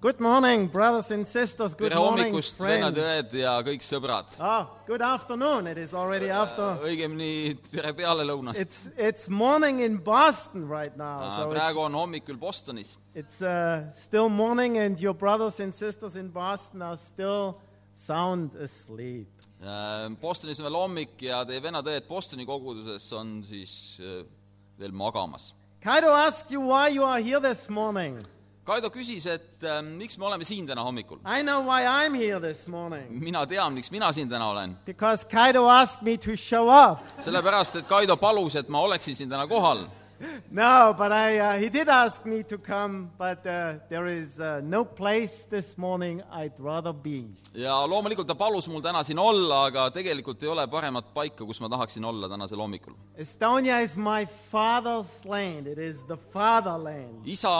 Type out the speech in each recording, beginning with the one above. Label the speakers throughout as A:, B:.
A: Good morning, brothers and sisters. Good
B: tere
A: morning,
B: hommikust , vennad ,
A: friends.
B: õed ja kõik sõbrad .
A: Ah, good afternoon. It is already after.
B: õigemini tere pealelõunast .
A: It's it's morning in Boston right now, so
B: praegu on hommikul Bostonis
A: it's, it's uh, still morning, and your brothers and sisters in Boston are still sound asleep.
B: Äh, Bostonis on veel hommik ja teie vennad , õed Bostoni koguduses on siis äh, veel magamas .
A: Kaido asked you why you are here this morning.
B: Kaido küsis , et äh, miks me oleme siin täna hommikul .
A: I know why I'm here this morning
B: mina tean , miks mina siin täna olen .
A: because Kaido asked me to show up.
B: sellepärast , et Kaido palus , et ma oleksin siin täna kohal .
A: No, but I, uh, he did ask me to come, but uh, there is uh, no place this morning I'd rather be.
B: ja loomulikult ta palus mul täna siin olla , aga tegelikult ei ole paremat paika , kus ma tahaksin olla tänasel hommikul .
A: Estonia is my father's land. It is the fatherland.
B: isa ,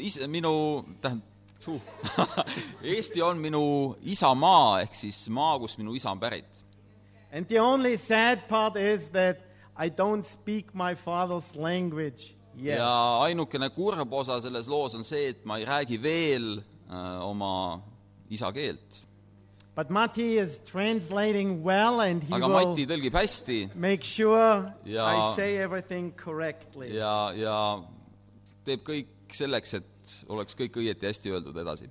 B: is- , minu , tähendab , uh, Eesti on minu isamaa ehk siis maa , kust minu isa on pärit .
A: And the only sad part is that I don't speak my father's language yet.
B: ja ainukene kurb osa selles loos on see , et ma ei räägi veel uh, oma isa keelt .
A: But Matti is translating well and he
B: aga
A: will
B: Mati tõlgib hästi
A: make sure
B: Ja-
A: I say everything correctly.
B: ja , ja teeb kõik selleks , et oleks kõik õieti hästi öeldud edasi .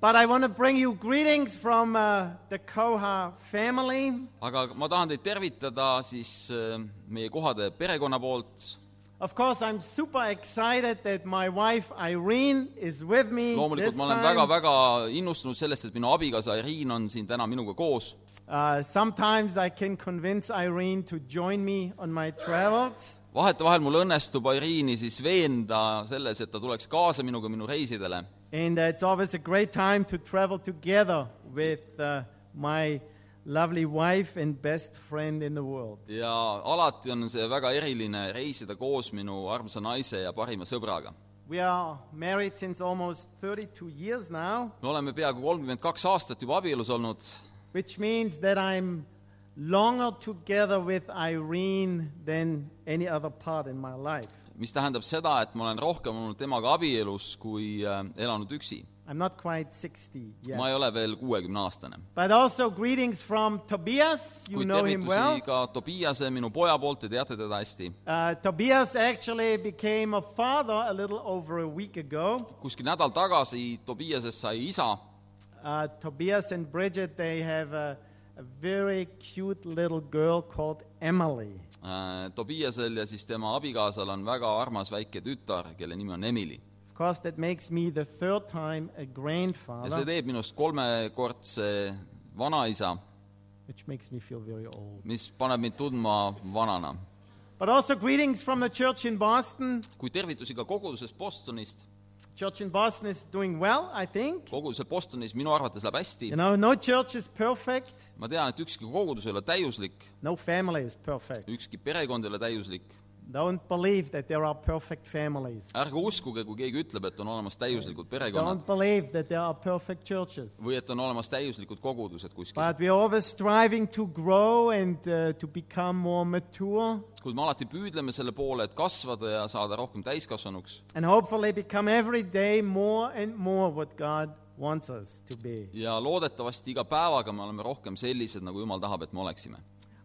A: But I want to bring you greetings from uh, the Koha family.
B: aga ma tahan teid tervitada siis uh, meie kohade perekonna poolt
A: Of course, I'm super excited that my wife Irene is with me.
B: loomulikult
A: This
B: ma olen
A: time.
B: väga-väga innustunud sellest , et minu abikaasa Irene on siin täna minuga koos .
A: Uh, sometimes I can convince Irene to join me on my travels.
B: vahetevahel mul õnnestub Irene'i siis veenda selles , et ta tuleks kaasa minuga minu reisidele .
A: And uh, it's always a great time to travel together with uh, my lovely wife and best friend in the world.
B: ja alati on see väga eriline reisida koos minu armsa naise ja parima sõbraga .
A: We are married since almost 32 years now,
B: me oleme peaaegu kolmkümmend kaks aastat juba abielus olnud ,
A: which means that I'm longer together with Irene than any other part in my life.
B: mis tähendab seda , et ma olen rohkem olnud temaga abielus kui äh, elanud üksi .
A: I'm not quite 60 yet.
B: ma ei ole veel kuuekümne aastane .
A: but also greetings from Tobias. You
B: kuid
A: know him well.
B: tervitusi ka Tobiase , minu poja poolt , te teate teda hästi
A: Uh, Tobias actually became a father a little over a week ago.
B: kuskil nädal tagasi Tobiasest sai isa
A: Uh, Tobias and Bridget, they have a, a very cute little girl called Emily.
B: äh, Tobiasel ja siis tema abikaasal on väga armas väike tütar , kelle nimi on Emily .
A: Of course, that makes me the third time a
B: ja see
A: grandfather,
B: teeb minust kolmekordse vanaisa ,
A: which makes me feel very old.
B: mis paneb mind tundma vanana .
A: But also greetings from the church in Boston.
B: kuid tervitusi ka kogudusest Bostonist .
A: Church in Boston is doing well, I think.
B: koguduse Bostonis minu arvates läheb hästi
A: You . know, no church is perfect,
B: ma tean , et ükski kogudus ei ole täiuslik ,
A: no family is perfect.
B: ükski perekond ei ole täiuslik .
A: Don't believe that there are perfect families.
B: ärge uskuge , kui keegi ütleb , et on olemas täiuslikud perekonnad
A: Don't believe that there are perfect churches.
B: või et on olemas täiuslikud kogudused kuskil .
A: But we're always striving to grow and uh, to become more mature
B: kuid me alati püüdleme selle poole , et kasvada ja saada rohkem täiskasvanuks
A: and hopefully become every day more and more what God wants us to be.
B: ja loodetavasti iga päevaga me oleme rohkem sellised , nagu Jumal tahab , et me oleksime .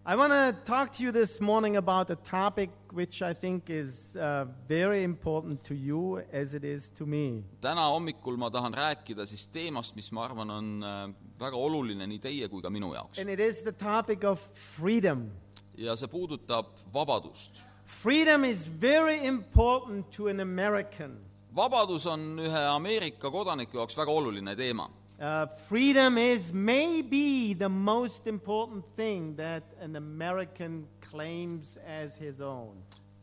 A: I want to talk to you this morning about a topic which I think is uh, very important to you as it is to me.
B: täna hommikul ma tahan rääkida siis teemast , mis ma arvan , on äh, väga oluline nii teie kui ka minu jaoks .
A: And it is the topic of freedom.
B: ja see puudutab vabadust .
A: Freedom is very important to an American.
B: vabadus on ühe Ameerika kodaniku jaoks väga oluline teema .
A: Uh, freedom is maybe the most important thing that an American claims as his own.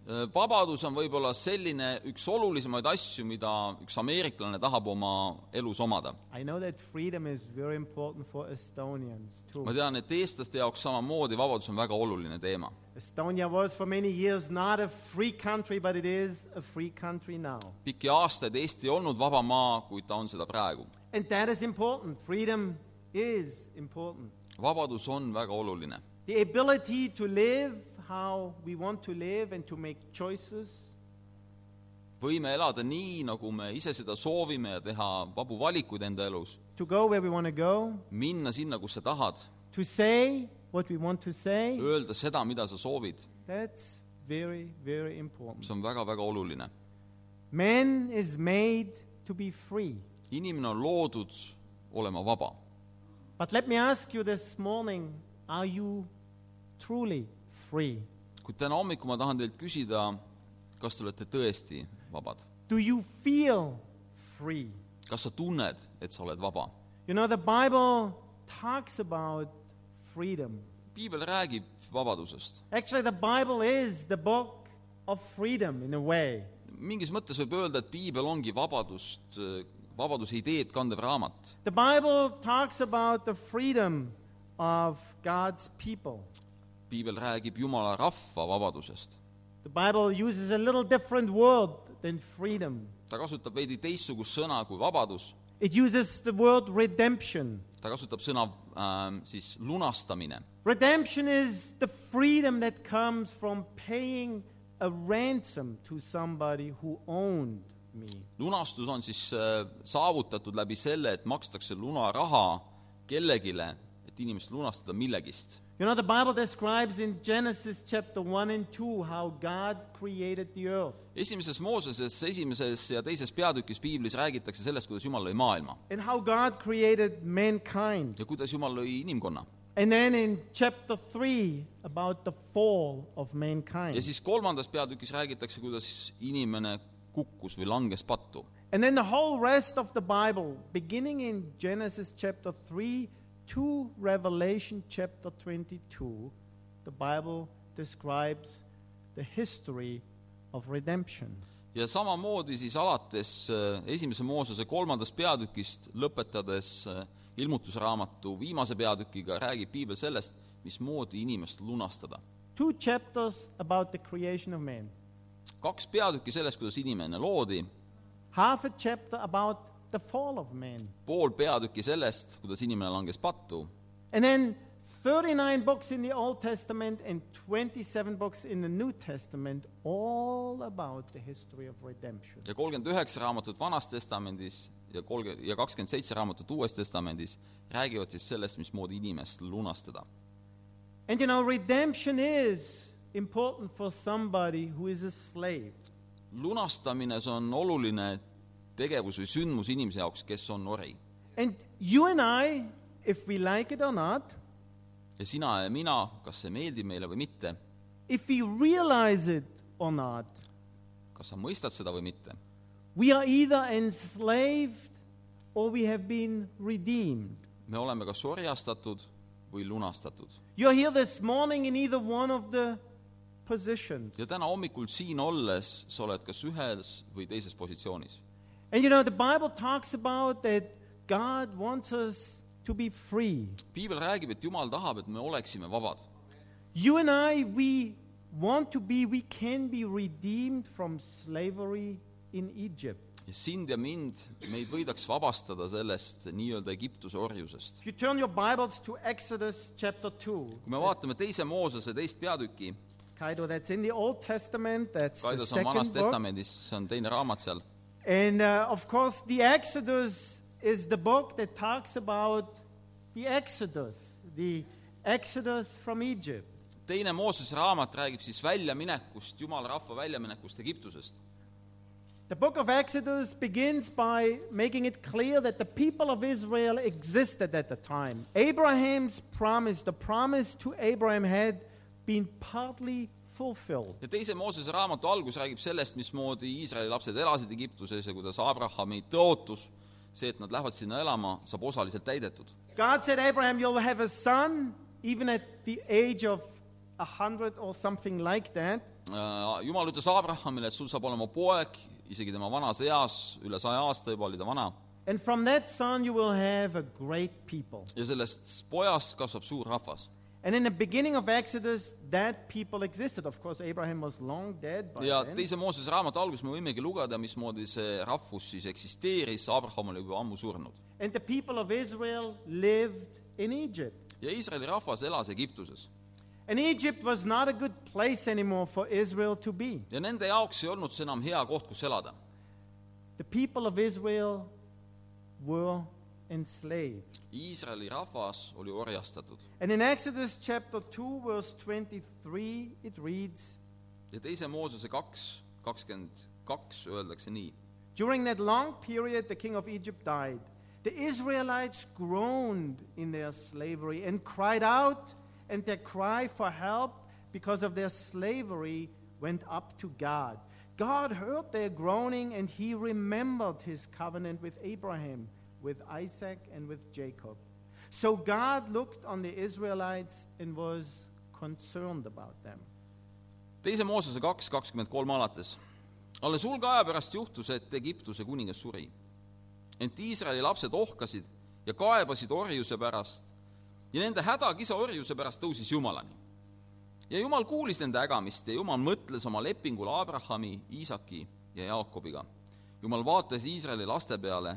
B: Äh, vabadus on võib-olla selline üks olulisemaid asju , mida üks ameeriklane tahab oma elus omada .
A: I know that freedom is very important for Estonians too.
B: ma tean , et eestlaste jaoks samamoodi vabadus on väga oluline teema
A: Estonia was for many years not a free country, but it is a free country now.
B: pikki aastaid Eesti ei olnud vaba maa , kuid ta on seda praegu .
A: And that is important. Freedom is important.
B: vabadus on väga oluline .
A: The ability to live how we want to live and to make choices
B: võime elada nii , nagu me ise seda soovime ja teha vabu valikuid enda elus ,
A: to go where we want to go,
B: minna sinna , kus sa tahad ,
A: to say what we want to say.
B: öelda seda , mida sa soovid ,
A: That's very, very important.
B: see on väga-väga oluline .
A: Man is made to be free.
B: inimene on loodud olema vaba .
A: But let me ask you this morning are you truly free?
B: kuid täna hommikul ma tahan teilt küsida , kas te olete tõesti vabad ?
A: Do you feel free?
B: kas sa tunned , et sa oled vaba ?
A: You know, the Bible talks about freedom.
B: piibel räägib vabadusest .
A: Actually, the Bible is the book of freedom in a way.
B: mingis mõttes võib öelda , et piibel ongi vabadust , vabaduse ideed kandev raamat .
A: The Bible talks about the freedom of God's people.
B: piibel räägib Jumala rahva vabadusest .
A: The Bible uses a little different word than freedom.
B: ta kasutab veidi teistsugust sõna kui vabadus ,
A: It uses the word redemption.
B: ta kasutab sõna äh, siis lunastamine .
A: Redemption is the freedom that comes from paying a ransom to somebody who owned me.
B: lunastus on siis äh, saavutatud läbi selle , et makstakse lunaraha kellegile , et inimest lunastada millegist .
A: You know, the Bible describes in Genesis chapter 1 and 2 how God created the earth.
B: esimeses Mooses esimeses ja teises peatükis piiblis räägitakse sellest , kuidas Jumal lõi maailma
A: And how God created mankind.
B: ja kuidas Jumal lõi inimkonna .
A: And then in chapter 3 about the fall of
B: ja
A: mankind.
B: siis kolmandas peatükis räägitakse , kuidas inimene kukkus või langes pattu .
A: And then the whole rest of the Bible, beginning in Genesis chapter 3 to Revelation chapter 22, the Bible describes the history of redemption.
B: ja samamoodi siis alates äh, esimese Moosese kolmandast peatükist lõpetades äh, ilmutusraamatu viimase peatükiga räägib piibel sellest , mismoodi inimest lunastada .
A: Two chapters about the creation of man,
B: kaks peatükki sellest , kuidas inimene loodi ,
A: half a chapter about the fall of man,
B: pool peatükki sellest , kuidas inimene langes pattu
A: and then 39 books in the Old Testament and 27 books in the New Testament, all about the history of redemption.
B: ja kolmkümmend üheksa raamatut Vanas Testamendis ja kolmkümmend ja kakskümmend seitse raamatut Uues Testamendis räägivad siis sellest , mismoodi inimest lunastada .
A: And you know, redemption is important for somebody who is a slave.
B: lunastamine , see on oluline tegevus või sündmus inimese jaoks , kes on ori .
A: And you and I, if we like it or not,
B: ja sina ja mina , kas see meeldib meile või mitte ,
A: if we realize it or not,
B: kas sa mõistad seda või mitte ,
A: we are either enslaved or we have been redeemed.
B: me oleme kas orjastatud või lunastatud .
A: You're here this morning in either one of the positions.
B: ja täna hommikul siin olles sa oled kas ühes või teises positsioonis .
A: And you know, the Bible talks about that God wants us to be free.
B: piibel räägib , et Jumal tahab , et me oleksime vabad .
A: You and I, we want to be, we can be redeemed from slavery in Egypt.
B: ja sind ja mind , meid võidaks vabastada sellest nii-öelda Egiptuse orjusest .
A: If you turn your Bibles to Exodus chapter 2,
B: kui me vaatame teise Moosese teist peatüki ,
A: Kaido, that's in the Old Testament, that's the
B: Kaidos on Vanas
A: second book.
B: Testamendis , see on teine raamat seal
A: And uh, of course, the Exodus is the book that talks about the Exodus, the Exodus from Egypt.
B: teine Moosese raamat räägib siis väljaminekust , jumala rahva väljaminekust Egiptusest .
A: The book of Exodus begins by making it clear that the people of Israel existed at the time. Abraham's promise, the promise to Abraham, had been partly fulfilled.
B: ja teise Moosese raamatu algus räägib sellest , mismoodi Iisraeli lapsed elasid Egiptuses ja kuidas Abrahami tõotus , see , et nad lähevad sinna elama , saab osaliselt täidetud .
A: God said, Abraham, you'll have a son, even at the age of a 100 or something like that.
B: Äh, Jumal ütles Abrahamile , et sul saab olema poeg , isegi tema vanas eas , üle saja aasta juba oli ta vana ,
A: And from that son, you will have a great people.
B: ja sellest pojast kasvab suur rahvas .
A: And in the beginning of Exodus, that people existed. Of course, Abraham was long dead by
B: ja
A: then.
B: teise Moosese raamatu alguses me võimegi lugeda , mismoodi see rahvus siis eksisteeris , Abraham oli juba ammu surnud .
A: And the people of Israel lived in Egypt.
B: ja Iisraeli rahvas elas Egiptuses .
A: And Egypt was not a good place anymore for Israel to be.
B: ja nende jaoks ei olnud see enam hea koht , kus elada .
A: The people of Israel were enslaved.
B: Iisraeli rahvas oli orjastatud
A: And in Exodus chapter 2, verse 23, it reads
B: ja teise Moosese kaks , kakskümmend kaks öeldakse nii .
A: During that long period, the king of Egypt died. The Israelites groaned in their slavery and cried out, and their cry for help because of their slavery went up to God. God heard their groaning, and he remembered his covenant with Abraham, with Isaac, and with Jacob. So God looked on the Israelites and was concerned about them.
B: teise Moosese kaks , kakskümmend kolm alates . alles hulga aja pärast juhtus , et Egiptuse kuningas suri . ent Iisraeli lapsed ohkasid ja kaebasid orjuse pärast ja nende hädakisa orjuse pärast tõusis Jumalani . ja Jumal kuulis nende ägamist ja Jumal mõtles oma lepingul Abrahami , Iisaki ja Jaakobiga . Jumal vaatas Iisraeli laste peale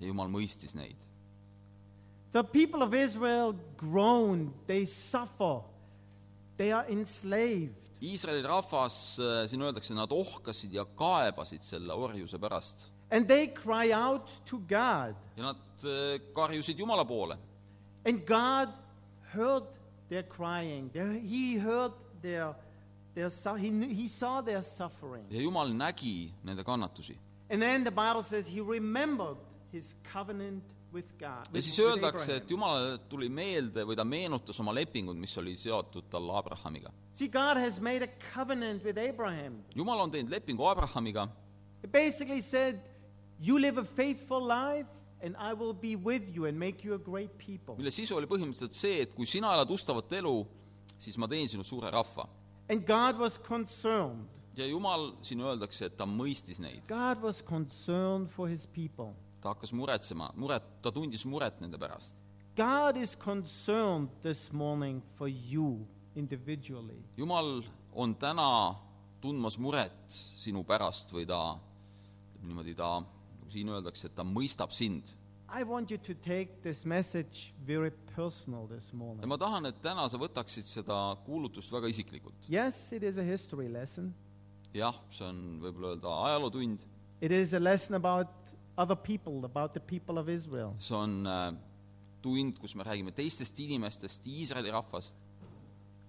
B: ja Jumal mõistis neid .
A: The people of Israel groan, they suffer, they are enslaved.
B: Iisraeli rahvas , siin öeldakse , nad ohkasid ja kaebasid selle orjuse pärast
A: And they cry out to God.
B: ja nad äh, karjusid Jumala poole
A: And God heard their crying. Their- He heard their, their su- he, knew- he saw their suffering.
B: ja Jumal nägi nende kannatusi .
A: And then the Bible says he remembered his covenant with God.
B: ja
A: With,
B: siis
A: with
B: öeldakse ,
A: Abraham.
B: et Jumalale tuli meelde või ta meenutas oma lepingut , mis oli seotud talle Abrahamiga .
A: See, God has made a covenant with Abraham.
B: Jumal on teinud lepingu Abrahamiga
A: It basically said, You live a faithful life, and I will be with you and make you a great people.
B: mille sisu oli põhimõtteliselt see , et kui sina elad ustavat elu , siis ma teen sinu suure rahva .
A: And God was concerned.
B: ja Jumal , siin öeldakse , et ta mõistis neid .
A: God was concerned for his people.
B: ta hakkas muretsema , muret , ta tundis muret nende pärast .
A: God is concerned this morning for you individually.
B: Jumal on täna tundmas muret sinu pärast või ta , ütleme niimoodi , ta , nagu siin öeldakse , et ta mõistab sind
A: I want you to take this message very personal this
B: ja
A: morning.
B: ma tahan , et täna sa võtaksid seda kuulutust väga isiklikult .
A: Yes, it is a history lesson.
B: jah , see on võib-olla öelda ajalootund ,
A: It is a lesson about other people, about the people of Israel.
B: see on äh, tund , kus me räägime teistest inimestest , Iisraeli rahvast ,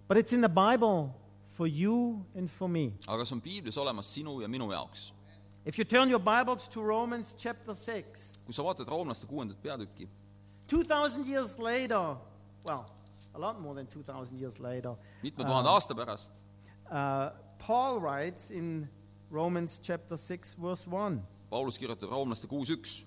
A: But it's in the Bible for you and for me.
B: aga see on piiblis olemas sinu ja minu jaoks .
A: If you turn your Bibles to Romans chapter 6,
B: kui sa vaatad roomlaste kuuendat peatükki ,
A: 2,000 years later, well, a lot more than 2,000 years later,
B: mitme tuhande aasta pärast ,
A: Uh, Paul writes in Romans chapter 6, verse 1
B: Paulus kirjutab roomlaste kuus üks ,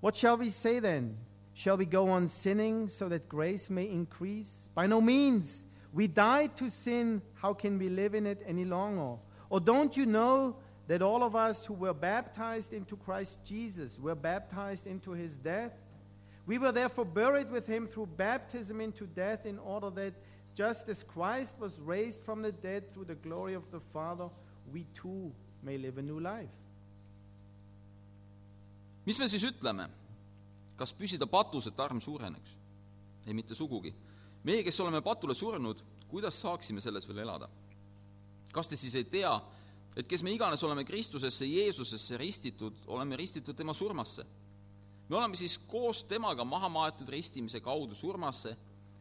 A: What shall we say then? Shall we go on sinning so that grace may increase? By no means. We died to sin. How can we live in it any longer? Or don't you know that all of us who were baptized into Christ Jesus were baptized into his death? We were therefore buried with him through baptism into death, in order that just as Christ was raised from the dead through the glory of the Father, we too may live a new life.
B: mis me siis ütleme ? kas püsida patus , et arm suureneks ? ei , mitte sugugi . meie , kes oleme patule surnud , kuidas saaksime selles veel elada ? kas te siis ei tea , et kes me iganes oleme Kristusesse , Jeesusesse ristitud , oleme ristitud tema surmasse ? me oleme siis koos temaga maha maetud ristimise kaudu surmasse ,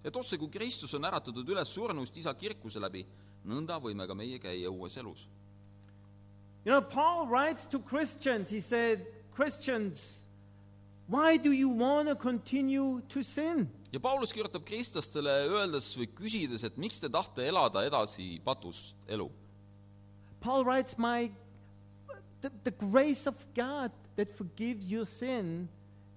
B: et otse kui Kristus on äratatud üles surnust isa kirkuse läbi , nõnda võime ka meie käia uues elus
A: You know, Paul writes to Christians, he said, Christians, why do you want to continue to sin?
B: ja Paulus kirjutab kristlastele öeldes või küsides , et miks te tahte elada edasi patust elu .
A: Paul writes, My the, the grace of God that forgives your sin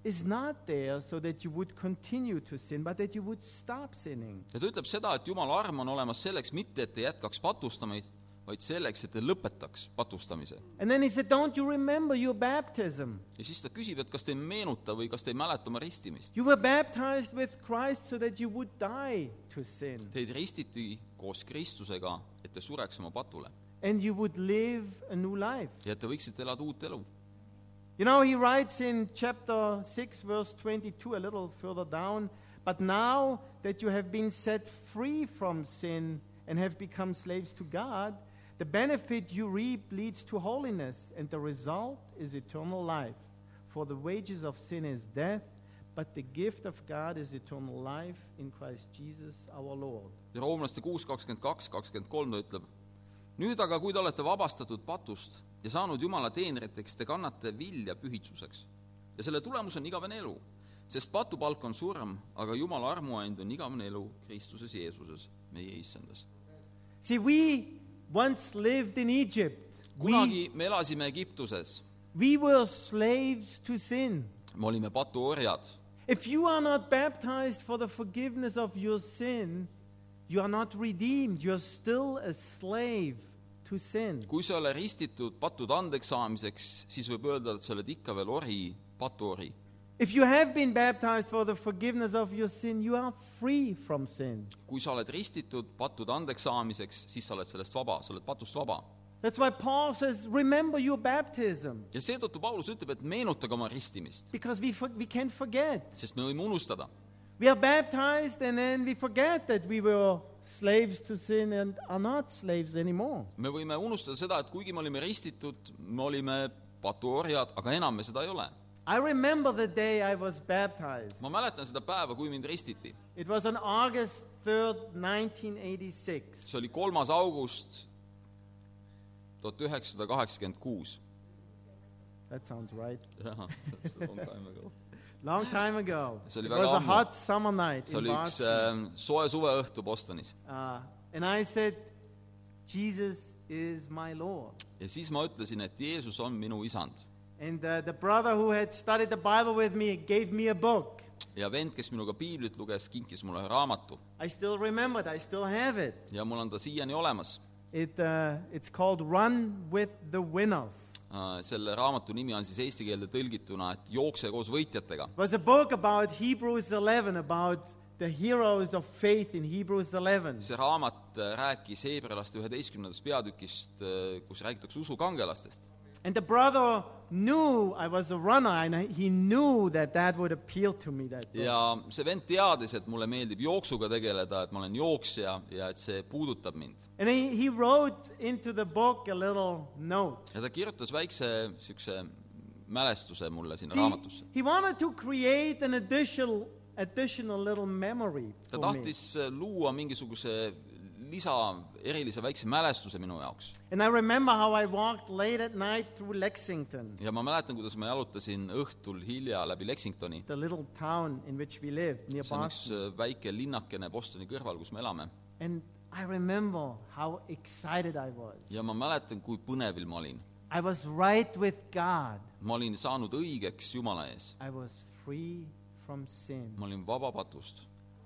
A: is not there so that you would continue to sin, but that you would stop sinning.
B: ja ta ütleb seda , et Jumala arm on olemas selleks mitte , et te jätkaks patustamist , vaid selleks , et te lõpetaks patustamise .
A: And then he said, Don't you remember your baptism?
B: ja siis ta küsib , et kas te ei meenuta või kas te ei mäleta oma ristimist .
A: You were baptized with Christ so that you would die to sin
B: Teid ristiti koos Kristusega , et te sureks oma patule
A: and you would live a new life.
B: ja et te võiksite elada uut elu .
A: You know, he writes in chapter 6, verse 22, a little further down, but now that you have been set free from sin and have become slaves to God, the benefit you reap leads to holiness, and the result is eternal life. For the wages of sin is death, but the gift of God is eternal life in Christ Jesus our Lord.
B: ja roomlaste kuus kakskümmend kaks , kakskümmend kolm ta ütleb . nüüd aga , kui te olete vabastatud patust ja saanud Jumala teenriteks , te kannate vilja pühitsuseks . ja selle tulemus on igavene elu , sest patupalk on surm , aga Jumala armuand on igavene elu Kristuses Jeesuses , meie issandas .
A: See, we once lived in Egypt. We,
B: kunagi me elasime Egiptuses ,
A: we were slaves to sin.
B: me olime patuorjad .
A: If you are not baptized for the forgiveness of your sin, you are not redeemed. You're still a slave to sin.
B: kui sa ei ole ristitud pattude andeks saamiseks , siis võib öelda , et sa oled ikka veel ori , patuori .
A: If you have been baptized for the forgiveness of your sin, you are free from sin.
B: kui sa oled ristitud pattude andeks saamiseks , siis sa oled sellest vaba , sa oled patust vaba
A: That's why Paul says, remember your baptism,
B: ja seetõttu Paulus ütleb , et meenutage oma ristimist ,
A: because we, for- we can forget.
B: sest me võime unustada .
A: We are baptized and then we forget that we were slaves to sin and are not slaves anymore.
B: me võime unustada seda , et kuigi me olime ristitud , me olime patuorjad , aga enam me seda ei ole .
A: I remember the day I was baptized.
B: ma mäletan seda päeva , kui mind ristiti .
A: It was on August 3rd, 1986.
B: see oli kolmas august tuhat üheksasada kaheksakümmend kuus .
A: That sounds right.
B: see
A: Long time ago.
B: See oli
A: It
B: väga
A: was a
B: ammu.
A: hot summer night in
B: oli üks
A: Boston.
B: äh, soe suveõhtu Bostonis
A: Uh, and I said, Jesus is my Lord.
B: ja siis ma ütlesin , et Jeesus on minu isand .
A: And uh, the brother who had studied the Bible with me gave me a book.
B: ja vend , kes minuga piiblit luges , kinkis mulle ühe raamatu
A: I still remember it. I still have it.
B: ja mul on ta siiani olemas
A: It, uh, it's called Run with the Winners.
B: Äh, selle raamatu nimi on siis eesti keelde tõlgituna , et jookse koos võitjatega .
A: It was a book about Hebrews 11, about the heroes of faith in Hebrews 11.
B: see raamat äh, rääkis heebrealaste üheteistkümnendast peatükist , kus räägitakse usukangelastest .
A: And the brother knew I was a runner, and he knew that that would appeal to me. That book.
B: ja see vend teadis , et mulle meeldib jooksuga tegeleda , et ma olen jooksja ja et see puudutab mind .
A: And he, he wrote into the book a little note.
B: ja ta kirjutas väikse niisuguse mälestuse mulle sinna
A: See,
B: raamatusse .
A: he wanted to create an additional, additional little memory
B: ta
A: for me.
B: tahtis äh, luua mingisuguse lisa , erilise väikse mälestuse minu jaoks .
A: And I remember how I walked late at night through Lexington,
B: ja ma mäletan , kuidas ma jalutasin õhtul hilja läbi Lexingtoni
A: the little town in which we lived near
B: see on üks
A: Boston.
B: äh, väike linnakene Bostoni kõrval , kus me elame .
A: And I remember how excited I was.
B: ja ma mäletan , kui põnevil ma olin .
A: I was right with God.
B: ma olin saanud õigeks Jumala ees .
A: I was free from sin.
B: ma olin vaba patust .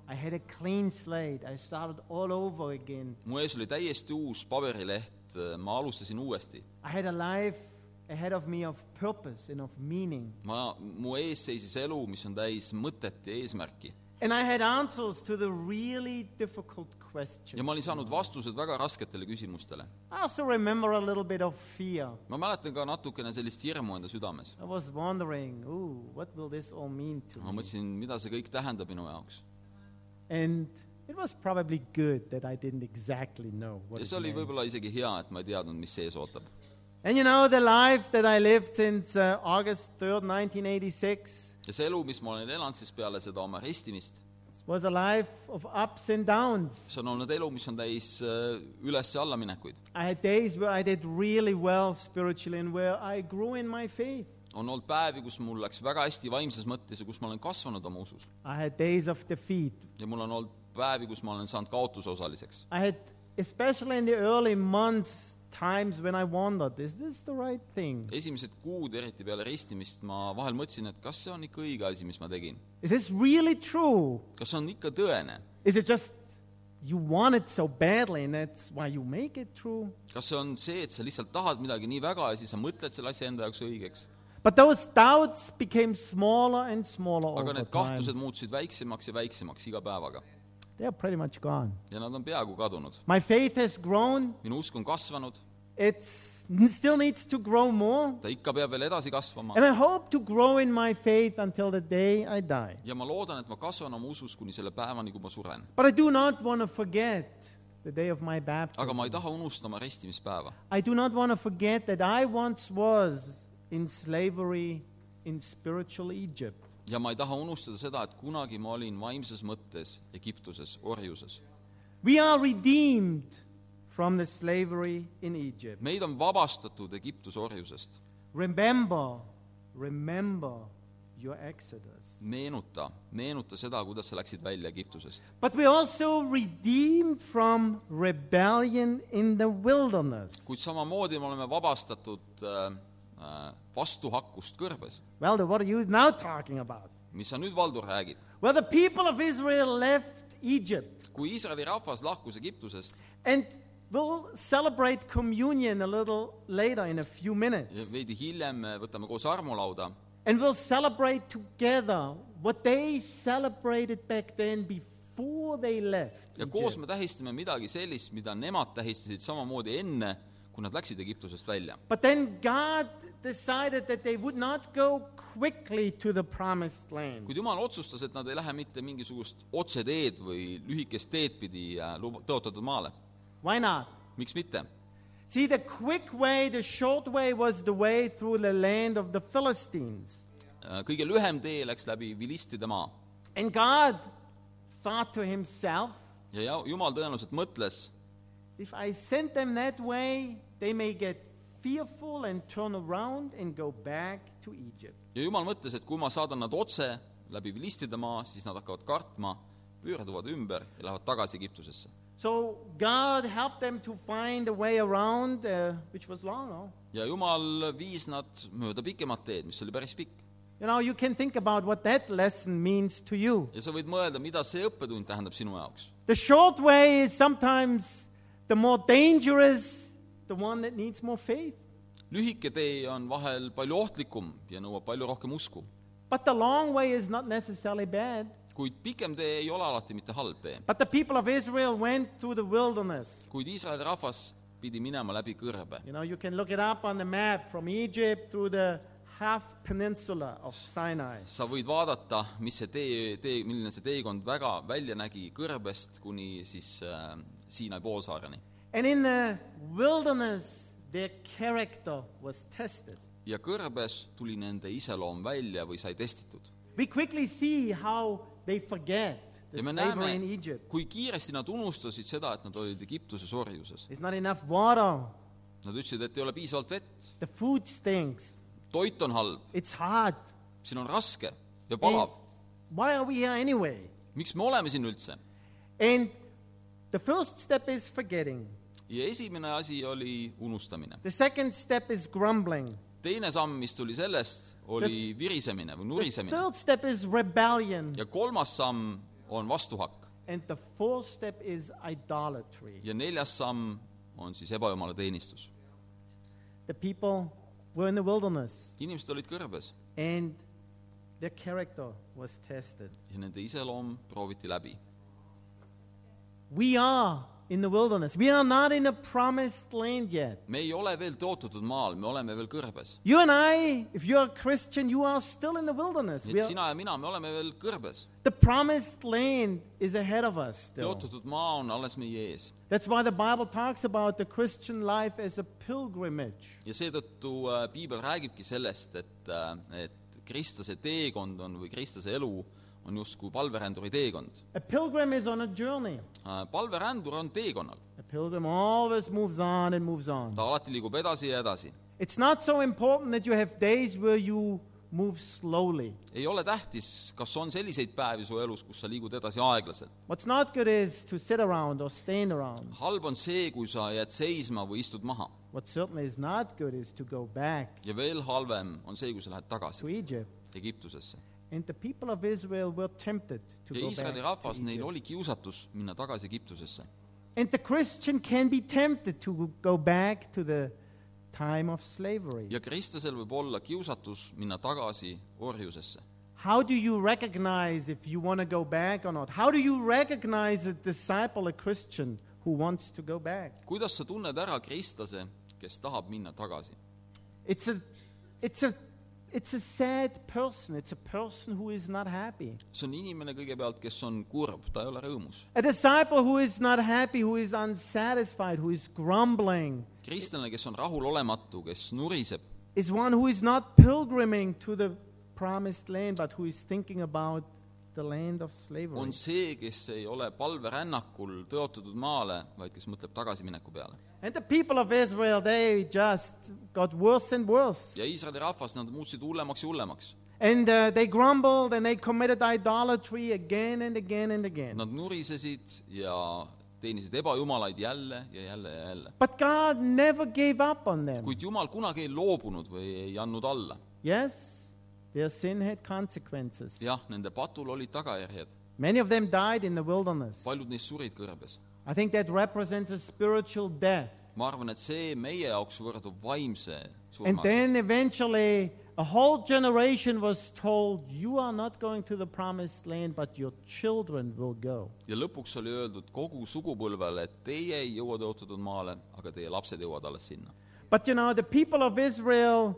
A: I had a clean slate. I started all over again.
B: mu ees oli täiesti uus paberileht , ma alustasin uuesti .
A: I had a life ahead of me of purpose and of meaning.
B: ma , mu ees seisis elu , mis on täis mõtet ja eesmärki .
A: And I had answers to the really difficult
B: ja
A: questions.
B: ma olin saanud vastused väga rasketele küsimustele .
A: I also remember a little bit of fear.
B: ma mäletan ka natukene sellist hirmu enda südames .
A: I was wondering, ooh, what will this all mean to
B: ma
A: me?
B: mõtlesin , mida see kõik tähendab minu jaoks .
A: And it was probably good that I didn't exactly know what
B: ja
A: it
B: see oli
A: meant.
B: võib-olla isegi hea , et ma ei teadnud , mis ees ootab .
A: And you know, the life that I lived since uh, August 3rd, 1986
B: ja see elu , mis ma olen elanud siis peale seda oma ristimist ,
A: was a life of ups and downs.
B: see on olnud elu , mis on täis äh, üles- ja allaminekuid .
A: I had days where I did really well spiritually and where I grew in my faith.
B: on olnud päevi , kus mul läks väga hästi vaimses mõttes ja kus ma olen kasvanud oma usus .
A: I had days of defeat.
B: ja mul on olnud päevi , kus ma olen saanud kaotuse osaliseks .
A: I had, especially in the early months, times when I wondered, is this the right thing?
B: esimesed kuud , eriti peale ristimist , ma vahel mõtlesin , et kas see on ikka õige asi , mis ma tegin .
A: Is this really true?
B: kas see on ikka tõene ?
A: Is it just you want it so badly and that's why you make it true?
B: kas see on see , et sa lihtsalt tahad midagi nii väga ja siis sa mõtled selle asja enda jaoks õigeks ?
A: But those doubts became smaller and smaller
B: aga
A: over
B: need
A: time.
B: kahtlused muutusid väiksemaks ja väiksemaks iga päevaga .
A: They're pretty much gone.
B: ja nad on peaaegu kadunud .
A: My faith has grown.
B: minu usk on kasvanud ,
A: It still needs to grow more.
B: ta ikka peab veel edasi kasvama .
A: And I hope to grow in my faith until the day I die.
B: ja ma loodan , et ma kasvan oma usus kuni selle päevani , kui ma suren .
A: But I do not want to forget the day of my
B: aga ma
A: baptism.
B: ei taha unustama restimispäeva .
A: I do not want to forget that I once was in slavery in spiritual Egypt.
B: ja ma ei taha unustada seda , et kunagi ma olin vaimses mõttes Egiptuses , orjuses .
A: We are redeemed from the slavery in Egypt.
B: meid on vabastatud Egiptuse orjusest .
A: Remember, remember your Exodus.
B: meenuta , meenuta seda , kuidas sa läksid välja Egiptusest .
A: But we're also redeemed from rebellion in the wilderness.
B: kuid samamoodi me oleme vabastatud äh, äh, vastuhakust kõrbes ,
A: Well, what are you now talking about?
B: mis sa nüüd , Valdur , räägid .
A: Well, the people of Israel left Egypt
B: kui Iisraeli rahvas lahkus Egiptusest ,
A: and we'll celebrate communion a little later in a few minutes.
B: veidi hiljem me võtame koos armulauda
A: And we'll celebrate together what they celebrated back then before they left.
B: ja koos
A: Egypt.
B: me tähistame midagi sellist , mida nemad tähistasid samamoodi enne , kui nad läksid Egiptusest välja .
A: But then God decided that they would not go quickly to the promised land.
B: kuid Jumal otsustas , et nad ei lähe mitte mingisugust otseteed või lühikest teed pidi äh, luba- tõotatud maale .
A: Why not?
B: miks mitte ?
A: See, the quick way, the short way was the way through the land of the Philistines.
B: Äh, kõige lühem tee läks läbi vilistide maa
A: And God thought to himself,
B: ja ja Jumal tõenäoliselt mõtles ,
A: if I send them that way, they may get fearful and turn around and go back to Egypt.
B: ja Jumal mõtles , et kui ma saadan nad otse läbi vilistide maa , siis nad hakkavad kartma , pöörduvad ümber ja lähevad tagasi Egiptusesse .
A: So God helped them to find a way around, uh, which was long. No?
B: ja Jumal viis nad mööda pikemat teed , mis oli päris pikk .
A: You know, you can think about what that lesson means to you.
B: ja sa võid mõelda , mida see õppetund tähendab sinu jaoks .
A: The short way is sometimes the more dangerous, the one that needs more faith.
B: lühike tee on vahel palju ohtlikum ja nõuab palju rohkem usku ,
A: But the long way is not necessarily bad.
B: kuid pikem tee ei ole alati mitte halb tee .
A: But the people of Israel went through the wilderness.
B: kuid Iisraeli rahvas pidi minema läbi kõrbe .
A: You know, you can look it up on the map from Egypt through the half peninsula of Sinai.
B: sa võid vaadata , mis see tee , tee , milline see teekond väga välja nägi kõrbest kuni siis äh, Siinai poolsaareni .
A: And in the wilderness, their character was tested.
B: ja kõrbes tuli nende iseloom välja või sai testitud .
A: We quickly see how they forget the
B: ja me
A: slavery in
B: näeme
A: Egypt. ,
B: kui kiiresti nad unustasid seda , et nad olid Egiptuses orjuses .
A: There's not enough water.
B: Nad ütlesid , et ei ole piisavalt vett ,
A: The food stinks.
B: toit on halb ,
A: It's hard.
B: siin on raske
A: Mm.
B: ja palav .
A: And why are we here anyway?
B: miks me oleme siin üldse ?
A: And the first step is forgetting.
B: ja esimene asi oli unustamine .
A: The second step is grumbling.
B: teine samm , mis tuli sellest , oli virisemine või
A: The
B: nurisemine .
A: third step is rebellion.
B: ja kolmas samm on vastuhakk
A: And the fourth step is idolatry.
B: ja neljas samm on siis ebajumala teenistus .
A: The people were in the wilderness
B: inimesed olid kõrbes
A: and their character was tested.
B: ja nende iseloom prooviti läbi .
A: We are in the wilderness. We are not in a promised land yet.
B: me ei ole veel tõotatud maal , me oleme veel kõrbes .
A: You and I, if you're a Christian, you are still in the wilderness.
B: nii
A: We
B: et
A: are,
B: sina ja mina , me oleme veel kõrbes .
A: the promised land is ahead of us still.
B: tõotatud maa on alles meie ees
A: That's why the Bible talks about the Christian life as a pilgrimage.
B: ja seetõttu äh, piibel räägibki sellest , et , et kristlase teekond on või kristlase elu on justkui palveränduri teekond .
A: A pilgrim is on a journey.
B: palverändur on teekonnal ,
A: A pilgrim always moves on and moves on.
B: ta alati liigub edasi ja edasi .
A: It's not so important that you have days where you move slowly.
B: ei ole tähtis , kas on selliseid päevi su elus , kus sa liigud edasi aeglaselt .
A: What's not good is to sit around or stand around.
B: halb on see , kui sa jääd seisma või istud maha
A: What certainly is not good is to go back
B: ja veel halvem on see , kui sa lähed
A: to
B: tagasi
A: Egypt.
B: Egiptusesse .
A: And the people of Israel were tempted to
B: ja
A: go back
B: Iisraeli
A: to
B: rahvas , neil
A: Egypt.
B: oli kiusatus minna tagasi Egiptusesse .
A: And the Christian can be tempted to go back to the time of slavery.
B: ja kristlasel võib olla kiusatus minna tagasi orjusesse
A: How do you recognize if you want to go back or not? How do you recognize a disciple, a Christian, who wants to go back?
B: kuidas sa tunned ära kristlase , kes tahab minna tagasi ?
A: It's a, it's a It's a sad person. It's a person who is not happy.
B: see on inimene kõigepealt , kes on kurb , ta ei ole rõõmus .
A: A disciple who is not happy, who is unsatisfied, who is grumbling,
B: kristlane , kes on rahulolematu , kes nuriseb ,
A: is one who is not pilgriming to the promised land, but who is thinking about the land of slavery.
B: on see , kes ei ole palverännakul tõotatud maale , vaid kes mõtleb tagasimineku peale .
A: And the people of Israel, they just got worse and worse.
B: ja Iisraeli rahvas , nad muutusid hullemaks ja hullemaks .
A: And uh, they grumbled and they committed idolatry again and again and again.
B: Nad nurisesid ja teenisid ebajumalaid jälle ja jälle ja jälle .
A: But God never gave up on them.
B: kuid Jumal kunagi ei loobunud või ei andnud alla .
A: Yes, their sin had consequences.
B: jah , nende patul olid tagajärjed ,
A: Many of them died in the wilderness.
B: paljud neist surid kõrbes .
A: I think that represents a spiritual death.
B: ma arvan , et see meie jaoks võrdub vaimse
A: And
B: surmaga .
A: then eventually, a whole generation was told, You are not going to the promised land, but your children will go.
B: ja lõpuks oli öeldud kogu sugupõlvele , et teie ei jõua tõotatud maale , aga teie lapsed jõuavad alles sinna .
A: But you know, the people of Israel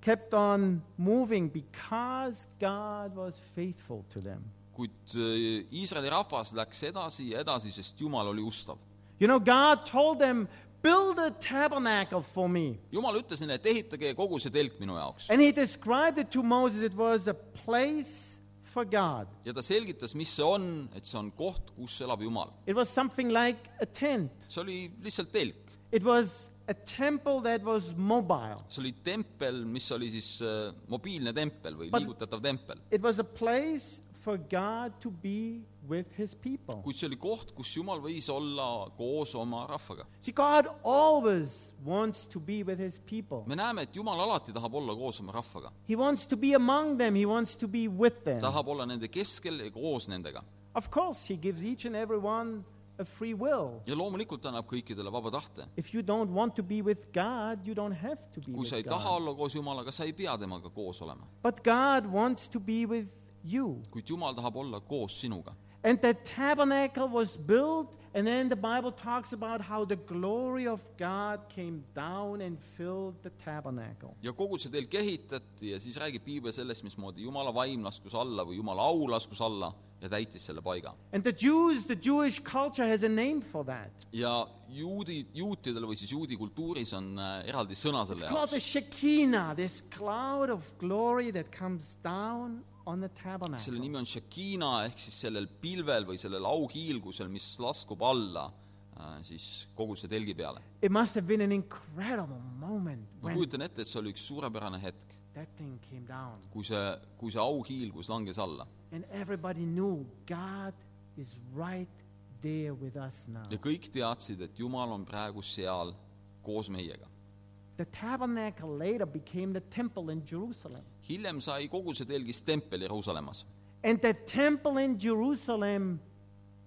A: kept on moving because God was faithful to them.
B: kuid äh, Iisraeli rahvas läks edasi ja edasi , sest Jumal oli ustav .
A: You know, God told them, Build a tabernacle for me.
B: Jumal ütles neile , et ehitage kogu see telk minu jaoks .
A: And he described it to Moses, it was a place for God.
B: ja ta selgitas , mis see on , et see on koht , kus elab Jumal .
A: It was something like a tent,
B: see oli lihtsalt telk .
A: it was a temple that was mobile.
B: see oli tempel , mis oli siis äh, mobiilne tempel või
A: But-
B: liigutatav tempel .
A: It was a place for God to be with his people.
B: kuid see oli koht , kus Jumal võis olla koos oma rahvaga .
A: See, God always wants to be with his people.
B: me näeme , et Jumal alati tahab olla koos oma rahvaga .
A: He wants to be among them, he wants to be with them.
B: tahab olla nende keskel ja koos nendega .
A: Of course, he gives each and every one a free will.
B: ja loomulikult ta annab kõikidele vaba tahte .
A: If you don't want to be with God, you don't have to be
B: kui sa ei
A: with
B: taha
A: God.
B: olla koos Jumalaga , sa ei pea temaga koos olema .
A: But God wants to be with you.
B: kuid Jumal tahab olla koos sinuga .
A: And the tabernacle was built, and then the Bible talks about how the glory of God came down and filled the tabernacle.
B: ja kogu see telk ehitati ja siis räägib piibel sellest , mismoodi Jumala vaim laskus alla või Jumala au laskus alla ja täitis selle paiga .
A: And the Jews, the Jewish culture has a name for that.
B: ja juudi , juutidel või siis juudi kultuuris on äh, eraldi sõna
A: It's
B: selle
A: called the
B: jaoks .
A: Shekinah, this cloud of glory that comes down on the
B: selle
A: tabernacle.
B: nimi on Shekina ehk siis sellel pilvel või sellel auhiilgusel , mis laskub alla äh, siis kogu see telgi peale .
A: It must have been an incredible moment
B: ma
A: when
B: kujutan ette , et see oli üks suurepärane hetk ,
A: that thing came down.
B: kui see , kui see auhiilgus langes alla
A: And everybody knew God is right there with us now.
B: ja kõik teadsid , et Jumal on praegu seal koos meiega .
A: The tabernacle later became the temple in Jerusalem.
B: hiljem sai kogu see telgis tempel Jeruusalemmas
A: And the temple in Jerusalem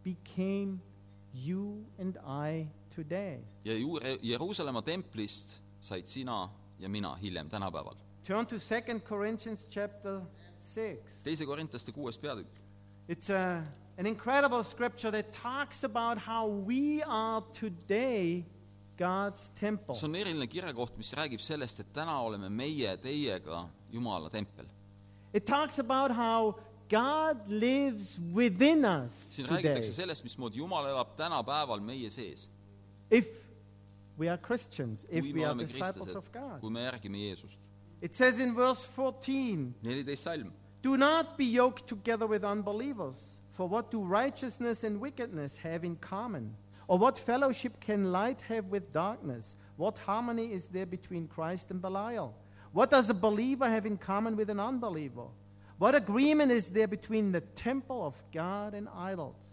A: became you and I today.
B: ja ju- , Jeruusalemma templist said sina ja mina hiljem tänapäeval .
A: Turn to 2 Corinthians chapter 6.
B: teise korintlaste kuues peatükk ,
A: It's a, an incredible scripture that talks about how we are today God's temple.
B: see on eriline kirjakoht , mis räägib sellest , et täna oleme meie teiega Jumala tempel .
A: it talks about how God lives within us
B: siin
A: today
B: räägitakse sellest , mismoodi Jumal elab tänapäeval meie sees ,
A: if we are Christians, if we
B: kui me
A: are
B: oleme
A: disciples
B: kristlased
A: of God.
B: kui me järgime Jeesust .
A: It says in verse 14,
B: neliteist salm .
A: Do not be yoked together with unbelievers, for what do righteousness and wickedness have in common? Or what fellowship can light have with darkness? What harmony is there between Christ and Belial? What does a believer have in common with an unbeliever? What agreement is there between the temple of God and idols?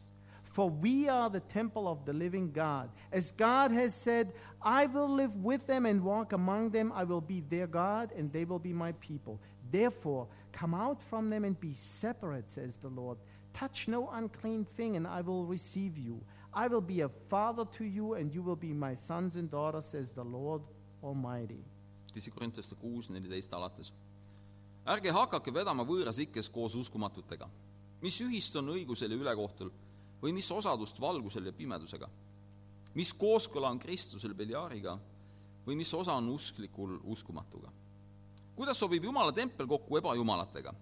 A: For we are the temple of the living God. As God has said, I will live with them and walk among them. I will be their God, and they will be my people. Therefore, come out from them and be separate, says the Lord. Touch no unclean thing, and I will receive you. I will be a father to you, and you will be my sons and daughters, says the Lord Almighty.
B: teise korintlaste kuus , neliteist alates . ärge hakake vedama võõras ikkes koos uskumatutega . mis ühist on õigusel ja ülekohtul või mis osadust valgusel ja pimedusega ? mis kooskõla on Kristusel Beljaariga või mis osa on usklikul uskumatuga ? kuidas sobib Jumala tempel kokku ebajumalatega ?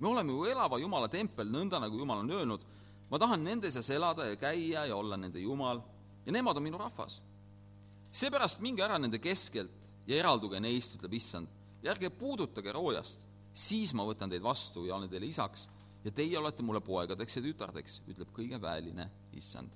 B: me oleme ju elava Jumala tempel , nõnda nagu Jumal on öelnud , ma tahan nende seas elada ja käia ja olla nende Jumal ja nemad on minu rahvas . seepärast minge ära nende keskelt ja eralduge neist , ütleb issand , ja ärge puudutage roojast , siis ma võtan teid vastu ja olen teile isaks ja teie olete mulle poegadeks ja tütardeks , ütleb kõigeväeline issand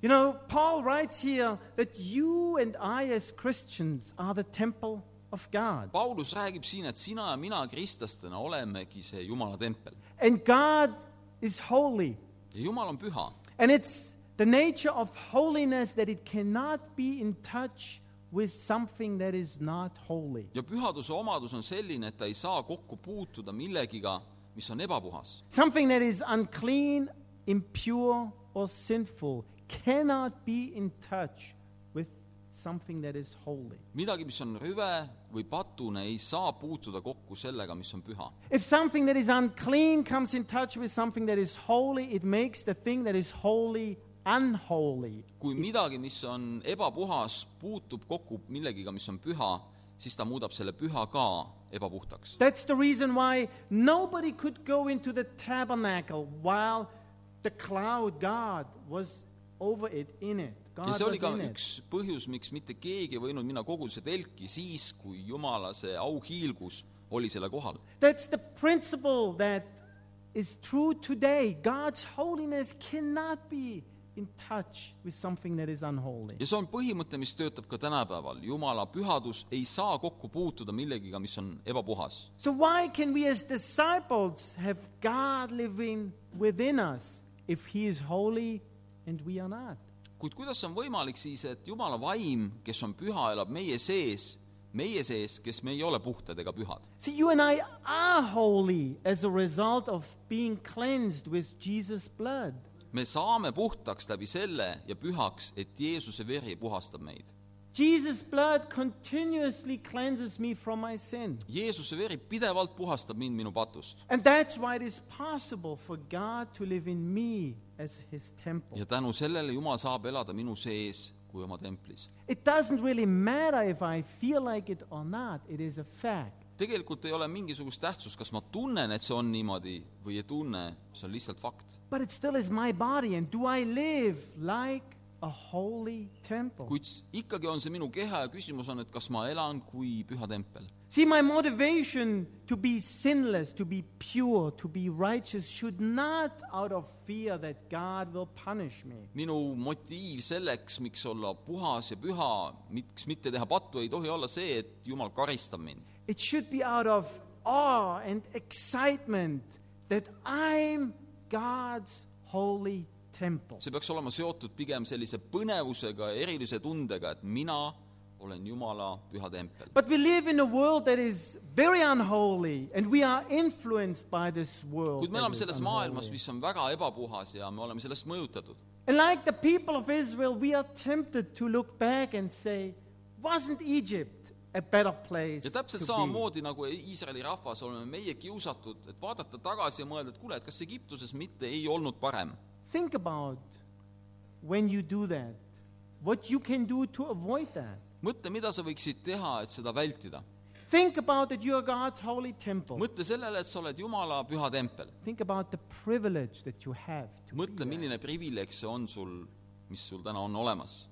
A: You know, Paul writes here that you and I, as Christians, are the temple of God.
B: Paulus räägib siin , et sina ja mina kristlastena olemegi see Jumala tempel
A: And God is holy.
B: ja Jumal on püha
A: And it's the nature of holiness that it cannot be in touch with something that is not holy.
B: ja pühaduse omadus on selline , et ta ei saa kokku puutuda millegiga , mis on ebapuhas .
A: Something that is unclean, impure, or sinful cannot be in touch with something that is holy.
B: midagi , mis on rüve või patune , ei saa puutuda kokku sellega , mis on püha .
A: If something that is unclean comes in touch with something that is holy, it makes the thing that is holy unholy.
B: kui midagi , mis on ebapuhas , puutub kokku millegiga , mis on püha , siis ta muudab selle püha ka ebapuhtaks .
A: That's the reason why nobody could go into the tabernacle while the cloud God was over it, in it. God
B: ja see oli
A: was
B: ka
A: in it.
B: üks põhjus , miks mitte keegi ei võinud minna koguduse telki siis , kui Jumala see auhiilgus oli selle kohal .
A: That's the principle that is true today. God's holiness cannot be in touch with something that is unholy.
B: ja see on põhimõte , mis töötab ka tänapäeval . Jumala pühadus ei saa kokku puutuda millegiga , mis on ebapuhas .
A: So, why can we as disciples have God living within us if He is holy and we are not?
B: kuid kuidas on võimalik siis , et Jumala vaim , kes on püha , elab meie sees , meie sees , kes me ei ole puhtad ega pühad ?
A: See, you and I are holy as a result of being cleansed with Jesus' blood.
B: me saame puhtaks läbi selle ja pühaks , et Jeesuse veri puhastab meid .
A: Jesus' blood continuously cleanses me from my sin.
B: Jeesuse veri pidevalt puhastab mind minu patust
A: And that's why it is possible for God to live in me as his temple.
B: ja tänu sellele Jumal saab elada minu sees kui oma templis .
A: It doesn't really matter if I feel like it or not, it is a fact.
B: tegelikult ei ole mingisugust tähtsust , kas ma tunnen , et see on niimoodi või ei tunne , see on lihtsalt fakt
A: But it still is my body, and do I live like a holy temple?
B: kuid s- ikkagi on see minu keha ja küsimus on , et kas ma elan kui püha tempel .
A: See, my motivation to be sinless, to be pure, to be righteous should not out of fear that God will punish me.
B: minu motiiv selleks , miks olla puhas ja püha , miks mitte teha pattu , ei tohi olla see , et Jumal karistab mind .
A: It should be out of awe and excitement that I'm God's holy temple.
B: see peaks olema seotud pigem sellise põnevusega ja erilise tundega , et mina olen Jumala püha tempel .
A: But we live in a world that is very unholy, and we are influenced by this world.
B: kuid me
A: that
B: elame
A: is
B: selles
A: unholy.
B: maailmas , mis on väga ebapuhas ja me oleme sellest mõjutatud .
A: And like the people of Israel, we are tempted to look back and say, wasn't Egypt a better place?
B: ja täpselt
A: to be?
B: samamoodi nagu Iisraeli rahvas oleme meie kiusatud , et vaadata tagasi ja mõelda , et kuule , et kas Egiptuses mitte ei olnud parem
A: Think about when you do that, what you can do to avoid that.
B: mõtle , mida sa võiksid teha , et seda vältida .
A: Think about that you are God's holy temple.
B: mõtle sellele , et sa oled Jumala püha tempel .
A: Think about the privilege that you have. To be
B: mõtle ,
A: there.
B: milline privileeg see on sul , mis sul täna on olemas .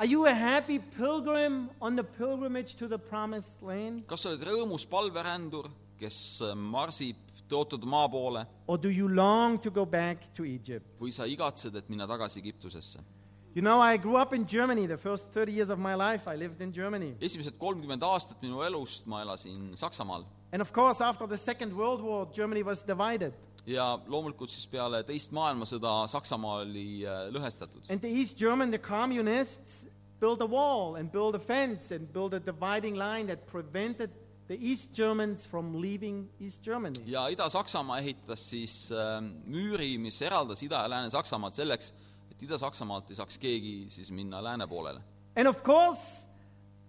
A: Are you a happy pilgrim on the pilgrimage to the promised land?
B: kas sa oled rõõmus palverändur , kes äh, marsib tõotud maa poole
A: Or do you long to go back to Egypt?
B: või sa igatsed , et minna tagasi Egiptusesse ?
A: You know, I grew up in Germany. The first 30 years of my life, I lived in Germany.
B: esimesed kolmkümmend aastat minu elust ma elasin Saksamaal
A: And of course, after the Second World War, Germany was divided.
B: ja loomulikult siis peale teist maailmasõda Saksamaa oli äh, lõhestatud .
A: And the East German, the communists, built a wall and built a fence and built a dividing line that prevented the East Germans from leaving East Germany.
B: ja Ida-Saksamaa ehitas siis äh, müüri , mis eraldas Ida- ja Lääne-Saksamaad selleks , et Ida-Saksamaalt ei saaks keegi siis minna lääne poolele .
A: And of course,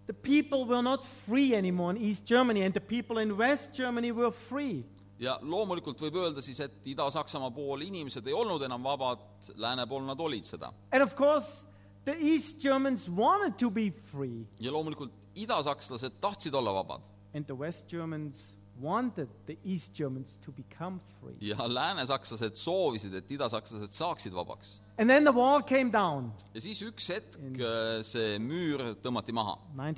A: the people were not free anymore in East Germany, and the people in West Germany were free.
B: ja loomulikult võib öelda siis , et Ida-Saksamaa pool inimesed ei olnud enam vabad , lääne pool nad olid seda .
A: And of course, the East Germans wanted to be free.
B: ja loomulikult idasakslased tahtsid olla vabad ,
A: and the West Germans wanted the East Germans to become free.
B: ja läänesakslased soovisid , et idasakslased saaksid vabaks .
A: And then the wall came down,
B: ja siis üks hetk äh, see müür tõmmati maha .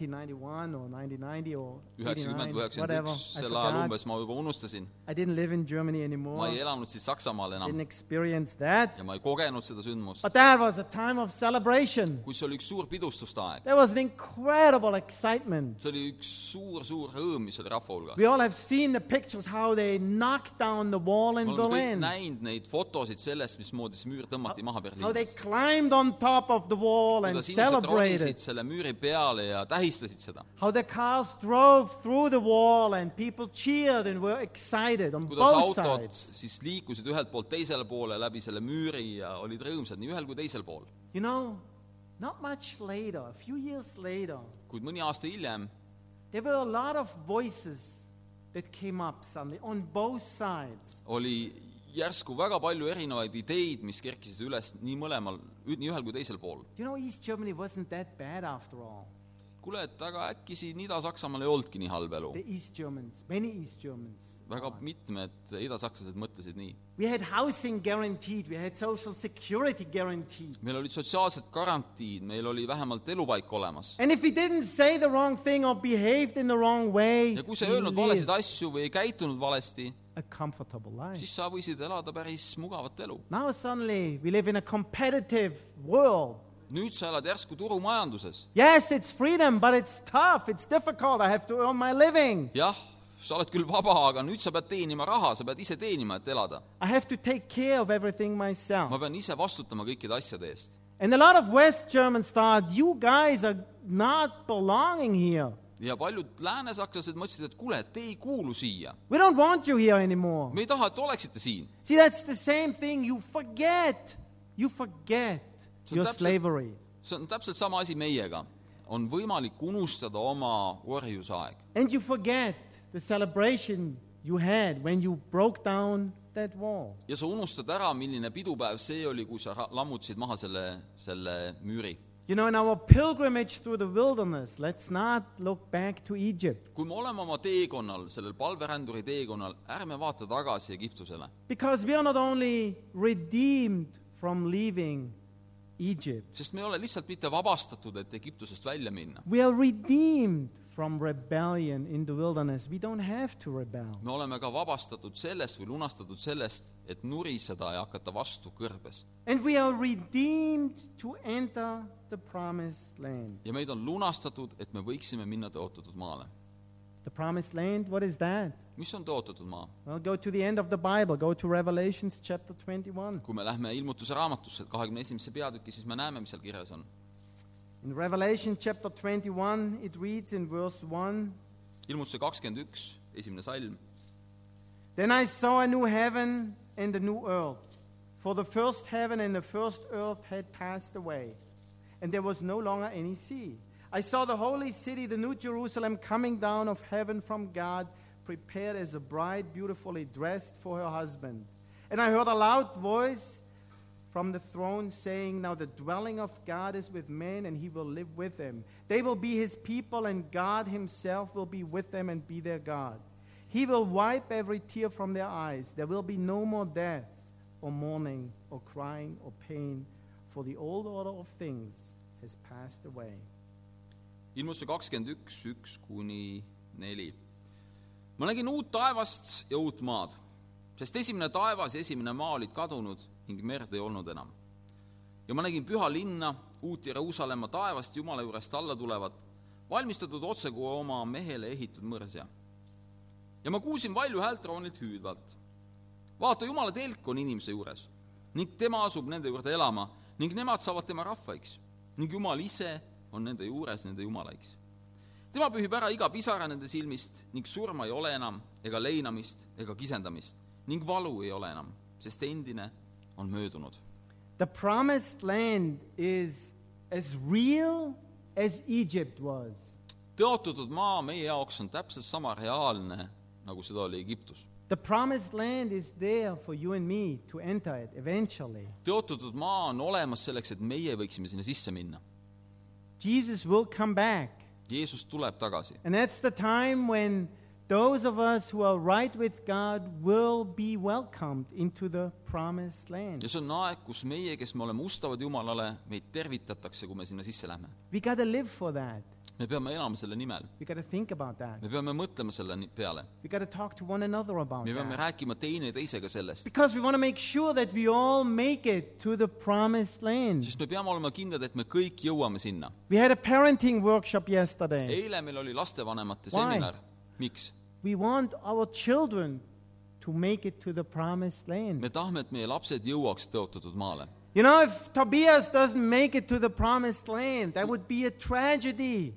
A: 1991 or 1990 or
B: üheksakümmend või
A: 89,
B: üheksakümmend
A: whatever.
B: üks ,
A: I,
B: sel ajal
A: forgot. Oh.
B: umbes ma juba unustasin .
A: I didn't live in Germany anymore.
B: ma ei elanud siis Saksamaal enam
A: didn't experience that.
B: ja ma ei kogenud seda sündmust .
A: But that was a time of celebration.
B: kuid see oli üks suur pidustuste aeg .
A: There was an incredible excitement.
B: see oli üks suur-suur rõõm , mis oli rahva hulgas .
A: We all have seen the pictures how they knocked down the wall in
B: me oleme kõik
A: Berlin,
B: näinud neid fotosid sellest , mismoodi see müür tõmmati maha
A: how they
B: Berliinis .
A: climbed on top of the wall and
B: kuidas inimesed ronisid
A: celebrated,
B: selle müüri peale ja tähistasid seda .
A: how the cars drove through the wall and people cheered and were excited on
B: kuidas
A: both
B: autod
A: sides.
B: siis liikusid ühelt poolt teisele poole läbi selle müüri ja olid rõõmsad nii ühel kui teisel pool .
A: You know, not much later, a few years later,
B: kuid mõni aasta hiljem
A: there were a lot of voices that came up suddenly on both sides.
B: oli järsku väga palju erinevaid ideid , mis kerkisid üles nii mõlemal , nii ühel kui teisel pool .
A: You know, East Germany wasn't that bad after all.
B: kuule , et aga äkki siin Ida-Saksamaal ei olnudki nii halb elu .
A: The East Germans, many East Germans.
B: väga mitmed idasakslased mõtlesid nii .
A: We had housing guaranteed, we had social security guaranteed.
B: meil olid sotsiaalsed garantiid , meil oli vähemalt elupaik olemas .
A: And if we didn't say the wrong thing or behaved in the wrong way,
B: ja kui sa
A: we
B: ei öelnud
A: lived
B: valesid asju või ei käitunud valesti ,
A: a comfortable life.
B: siis sa võisid elada päris mugavat elu .
A: Now suddenly we live in a competitive world.
B: nüüd sa elad järsku turumajanduses .
A: Yes, it's freedom, but it's tough, it's difficult, I have to earn my living.
B: jah , sa oled küll vaba , aga nüüd sa pead teenima raha , sa pead ise teenima , et elada .
A: I have to take care of everything
B: ma
A: myself.
B: pean ise vastutama kõikide asjade eest .
A: And a lot of West Germans thought, you guys are not belonging here.
B: ja paljud läänesakslased mõtlesid , et kuule , te ei kuulu siia .
A: We don't want you here anymore.
B: me ei taha , et te oleksite siin .
A: See, that's the same thing. You forget. You forget
B: So
A: your
B: that's a-
A: slavery.
B: see on täpselt sama asi meiega . on võimalik unustada oma orjusaeg
A: And you forget the celebration you had when you broke down that wall.
B: ja sa unustad ära , milline pidupäev see oli , kui sa ra- lammutasid maha selle , selle müüri .
A: You know, in our pilgrimage through the wilderness, let's not look back to Egypt
B: kui me oleme oma teekonnal , sellel palveränduri teekonnal , ärme vaata tagasi Egiptusele ,
A: because we are not only redeemed from leaving Egypt,
B: sest me ei ole lihtsalt mitte vabastatud , et Egiptusest välja minna .
A: we are redeemed from rebellion in the wilderness. We don't have to rebel.
B: me oleme ka vabastatud sellest või lunastatud sellest , et nuriseda ja hakata vastu kõrbes .
A: And we are redeemed to enter the promised land.
B: ja meid on lunastatud , et me võiksime minna tõotatud maale .
A: The promised land, what is that?
B: mis on tõotatud maa ?
A: Well, go to the end of the Bible. Go to Revelations chapter 21.
B: kui me lähme ilmutuse raamatusse , kahekümne esimesse peatükki , siis me näeme , mis seal kirjas on .
A: In Revelation chapter 21, it reads in verse 1
B: ilmutuse kakskümmend üks , esimene salm
A: Then I saw a new heaven and a new earth, for the first heaven and the first earth had passed away, and there was no longer any sea. I saw the holy city, the new Jerusalem, coming down of heaven from God, prepared as a bride beautifully dressed for her husband. And I heard a loud voice from the throne saying, Now the dwelling of God is with men, and he will live with them. They will be his people, and God himself will be with them and be their God. He will wipe every tear from their eyes. There will be no more death, or mourning, or crying, or pain, for the old order of things has passed away.
B: ilmutuse kakskümmend üks , üks kuni neli . ma nägin uut taevast ja uut maad , sest esimene taevas ja esimene maa olid kadunud ning merd ei olnud enam . ja ma nägin püha linna , uut Jeruusalemma taevast Jumala juurest alla tulevat , valmistatud otse kui oma mehele ehitud mõrsja . ja ma kuulsin valju häält troonilt hüüdvalt . vaata , Jumala telk on inimese juures ning tema asub nende juurde elama ning nemad saavad tema rahvaiks ning Jumal ise on nende juures nende Jumalaiks . tema pühib ära iga pisara nende silmist ning surma ei ole enam ega leinamist ega kisendamist ning valu ei ole enam , sest endine on möödunud .
A: The promised land is as real as Egypt was.
B: tõotatud maa meie jaoks on täpselt sama reaalne , nagu seda oli Egiptus .
A: The promised land is there for you and me to enter it eventually.
B: tõotatud maa on olemas selleks , et meie võiksime sinna sisse minna .
A: Jesus will come back
B: Jeesus tuleb tagasi
A: And that's the time when those of us who are right with God will be welcomed into the promised land.
B: ja see on aeg , kus meie , kes me oleme ustavad Jumalale , meid tervitatakse , kui me sinna sisse lähme .
A: We got to live for that.
B: me peame elama selle nimel ,
A: We got to think about that.
B: me peame mõtlema selle ni- peale ,
A: We got to talk to one another about
B: me peame
A: that.
B: rääkima teineteisega sellest ,
A: Because we want to make sure that we all make it to the promised land.
B: sest me peame olema kindlad , et me kõik jõuame sinna .
A: We had a parenting workshop yesterday.
B: eile meil oli
A: Why?
B: lastevanemate seminar , miks ?
A: We want our children to make it to the promised land.
B: me tahame , et meie lapsed jõuaks tõotatud maale .
A: You know, if Tobias doesn't make it to the promised land, that would be a tragedy.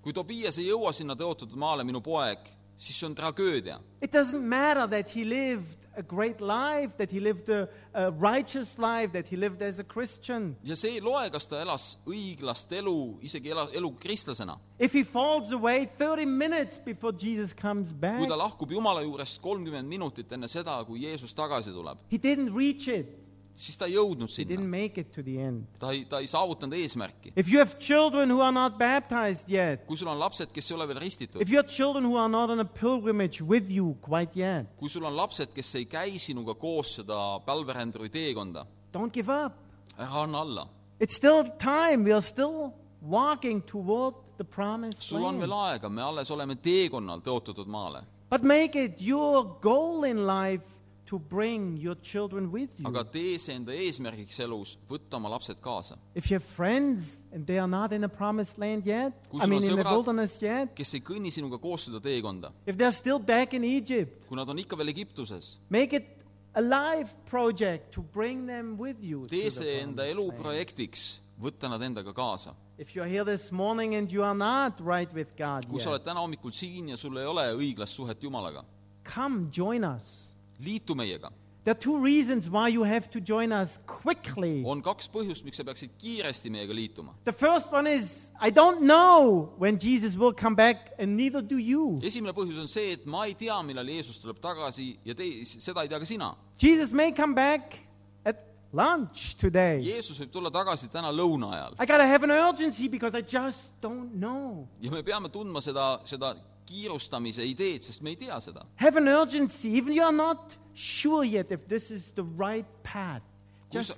B: kui Tobias ei jõua sinna tõotatud maale , minu poeg , siis see on tragöödia .
A: It doesn't matter that he lived a great life, that he lived a, a righteous life, that he lived as a Christian.
B: ja see ei loe , kas ta elas õiglast elu , isegi ela , elu kristlasena .
A: If he falls away 30 minutes before Jesus comes back,
B: kui ta lahkub Jumala juurest kolmkümmend minutit enne seda , kui Jeesus tagasi tuleb ,
A: he didn't reach it.
B: siis ta ei jõudnud
A: He didn't
B: sinna .
A: make it to the end.
B: ta ei , ta ei saavutanud eesmärki .
A: If you have children who are not baptized yet,
B: kui sul on lapsed , kes ei ole veel ristitud
A: if you have children who are not on a pilgrimage with you quite yet,
B: kui sul on lapsed , kes ei käi sinuga koos seda palveränduri teekonda ,
A: don't give up.
B: ära anna alla .
A: It's still time. We are still walking toward the promised
B: sul on veel
A: land.
B: aega , me alles oleme teekonnal tõotatud maale .
A: But make it your goal in life to bring your children with you.
B: aga tee see enda eesmärgiks elus , võtta oma lapsed kaasa .
A: If you have friends and they are not in the promised land yet,
B: Kui
A: I
B: sul
A: mean
B: on
A: in the
B: sõbrad-
A: wilderness yet,
B: kes ei kõnni sinuga koos seda teekonda ,
A: if they're still back in Egypt,
B: kui nad on ikka veel Egiptuses ,
A: make it a life project to bring them with you. to
B: tee
A: the
B: see enda
A: promised
B: elu
A: land.
B: projektiks , võtta nad endaga kaasa .
A: If you're here this morning and you are not right with God
B: kui sa
A: yet,
B: oled täna hommikul siin ja sul ei ole õiglast suhet Jumalaga ,
A: come join us.
B: liitu meiega .
A: There are two reasons why you have to join us quickly.
B: on kaks põhjust , miks sa peaksid kiiresti meiega liituma .
A: The first one is I don't know when Jesus will come back, and neither do you.
B: esimene põhjus on see , et ma ei tea , millal Jeesus tuleb tagasi ja te , seda ei tea ka sina .
A: Jesus may come back at lunch today.
B: Jeesus võib tulla tagasi täna lõuna ajal
A: I gotta have an urgency because I just don't know.
B: ja me peame tundma seda , seda kiirustamise ideed , sest me ei tea seda .
A: Have an urgency, even you are not sure yet if this is the right path.
B: Kui
A: Just
B: sa-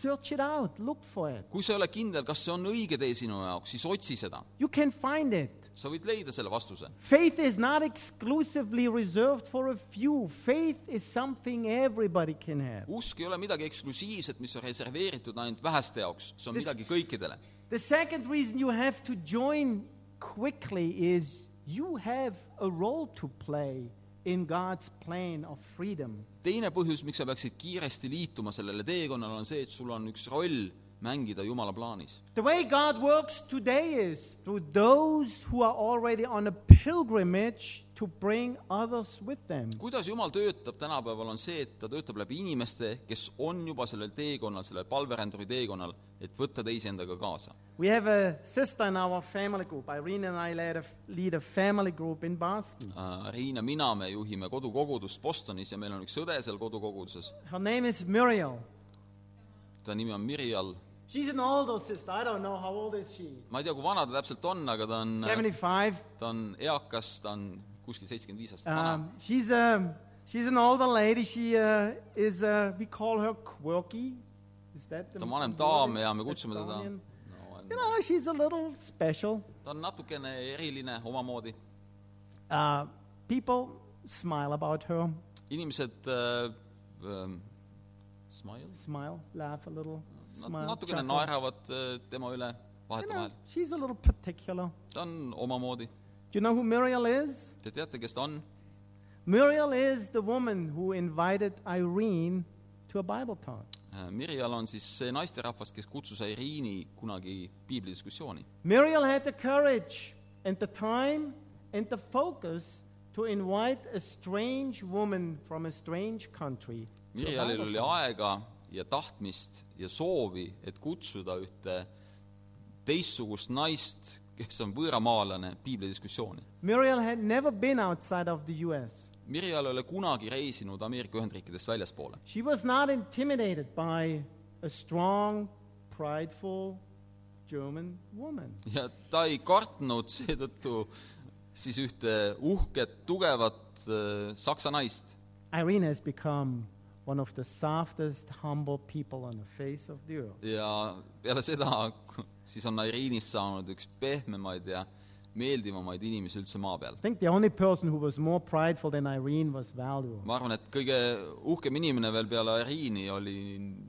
A: search it out, look for it.
B: kui sa ei ole kindel , kas see on õige tee sinu jaoks , siis otsi seda .
A: You can find it.
B: sa võid leida selle vastuse .
A: Faith is not exclusively reserved for a few. Faith is something everybody can have.
B: usk ei ole midagi eksklusiivset , mis on reserveeritud ainult väheste jaoks , see on
A: This-
B: midagi kõikidele .
A: The second reason you have to join quickly is you have a role to play in God's plan of freedom.
B: teine põhjus , miks sa peaksid kiiresti liituma sellele teekonnale , on see , et sul on üks roll mängida Jumala plaanis .
A: The way God works today is through those who are already on a pilgrimage to bring others with them.
B: kuidas Jumal töötab tänapäeval , on see , et ta töötab läbi inimeste , kes on juba sellel teekonnal , sellel palveränduri teekonnal , et võtta teisi endaga kaasa .
A: We have a sister in our family group. Irene and I led a, lead a family group in Boston.
B: Riin ja Äh, mina , me juhime kodukogudust Bostonis ja meil on üks õde seal kodukoguduses ,
A: Her name is Muriel.
B: ta nimi on Mirjal .
A: She's an older sister. I don't know how old is she.
B: ma ei tea , kui vana ta täpselt on , aga ta on ,
A: 75.
B: ta on eakas , ta on kuskil seitsekümmend viis aastat vana
A: Um, she's a she's an older lady. She uh, is uh, we call her quirky. Is that the
B: ta on vanem
A: word?
B: daam ja me kutsume teda
A: Estonian. You
B: no, ,
A: know, she's a little special.
B: ta on natukene eriline omamoodi .
A: Uh, people smile about her.
B: inimesed äh, äh, smile?
A: Smile, laugh a little.
B: Nad
A: Smile.
B: natukene
A: chuckle.
B: naeravad äh, tema üle
A: You know,
B: vahetevahel .
A: she's a little particular. Do
B: ta on omamoodi .
A: you know who Muriel is?
B: Te teate , kes ta on ?
A: Muriel is the woman who invited Irene to a Bible talk.
B: Äh, Mirjal on siis see naisterahvas , kes kutsus Irene kunagi piiblidiskussiooni .
A: Muriel had the courage and the time and the focus to invite a strange woman from a strange country. to a
B: Mirjalil
A: Bible
B: oli
A: talk.
B: aega ja tahtmist ja soovi , et kutsuda ühte teistsugust naist , kes on võõramaalane , piiblidiskussiooni .
A: Muriel had never been outside of the US.
B: Mirjal ei ole kunagi reisinud Ameerika Ühendriikidest väljaspoole .
A: She was not intimidated by a strong, prideful German woman.
B: ja ta ei kartnud seetõttu siis ühte uhket, tugevat äh, saksa naist.
A: Irene has become one of the softest, humble people on the face of the earth.
B: ja peale seda siis on Irinist saanud üks pehmemaid ja meeldivamaid inimesi üldse maa peal
A: I think the only person who was more prideful than Irene was Valdo.
B: ma arvan , et kõige uhkem inimene veel peale Ariini oli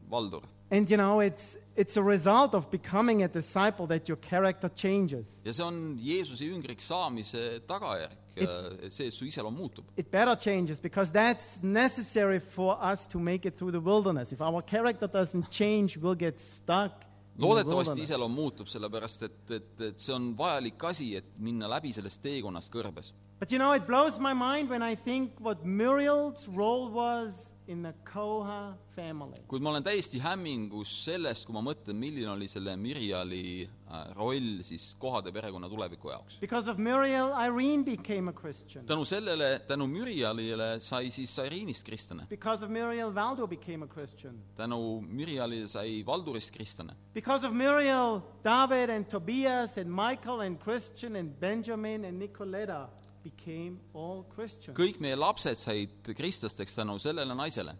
B: Valdur .
A: And you know, it's, it's a result of becoming a disciple that your character changes.
B: ja see on Jeesuse jüngriks saamise tagajärg , see , et su iseloom muutub .
A: It better changes because that's necessary for us to make it through the wilderness. If our character doesn't change, we'll get stuck. in the
B: loodetavasti
A: wilderness.
B: iseloom muutub , sellepärast et , et , et see on vajalik asi , et minna läbi sellest teekonnast kõrbes .
A: But you know, it blows my mind when I think what Muriel's role was in the Koha family.
B: kuid ma olen täiesti hämmingus sellest , kui ma mõtlen , milline oli selle Mirjali äh, roll siis kohade perekonna tuleviku jaoks .
A: Because of Muriel, Irene became a Christian.
B: tänu sellele , tänu Mirjalile sai siis Irinist kristlane .
A: Because of Muriel, Valdo became a Christian.
B: tänu Mirjalile sai Valdurist kristlane .
A: Because of Muriel, David and Tobias and Michael and Christian and Benjamin and Nicoletta became all Christians.
B: kõik meie lapsed said kristlasteks tänu sellele naisele .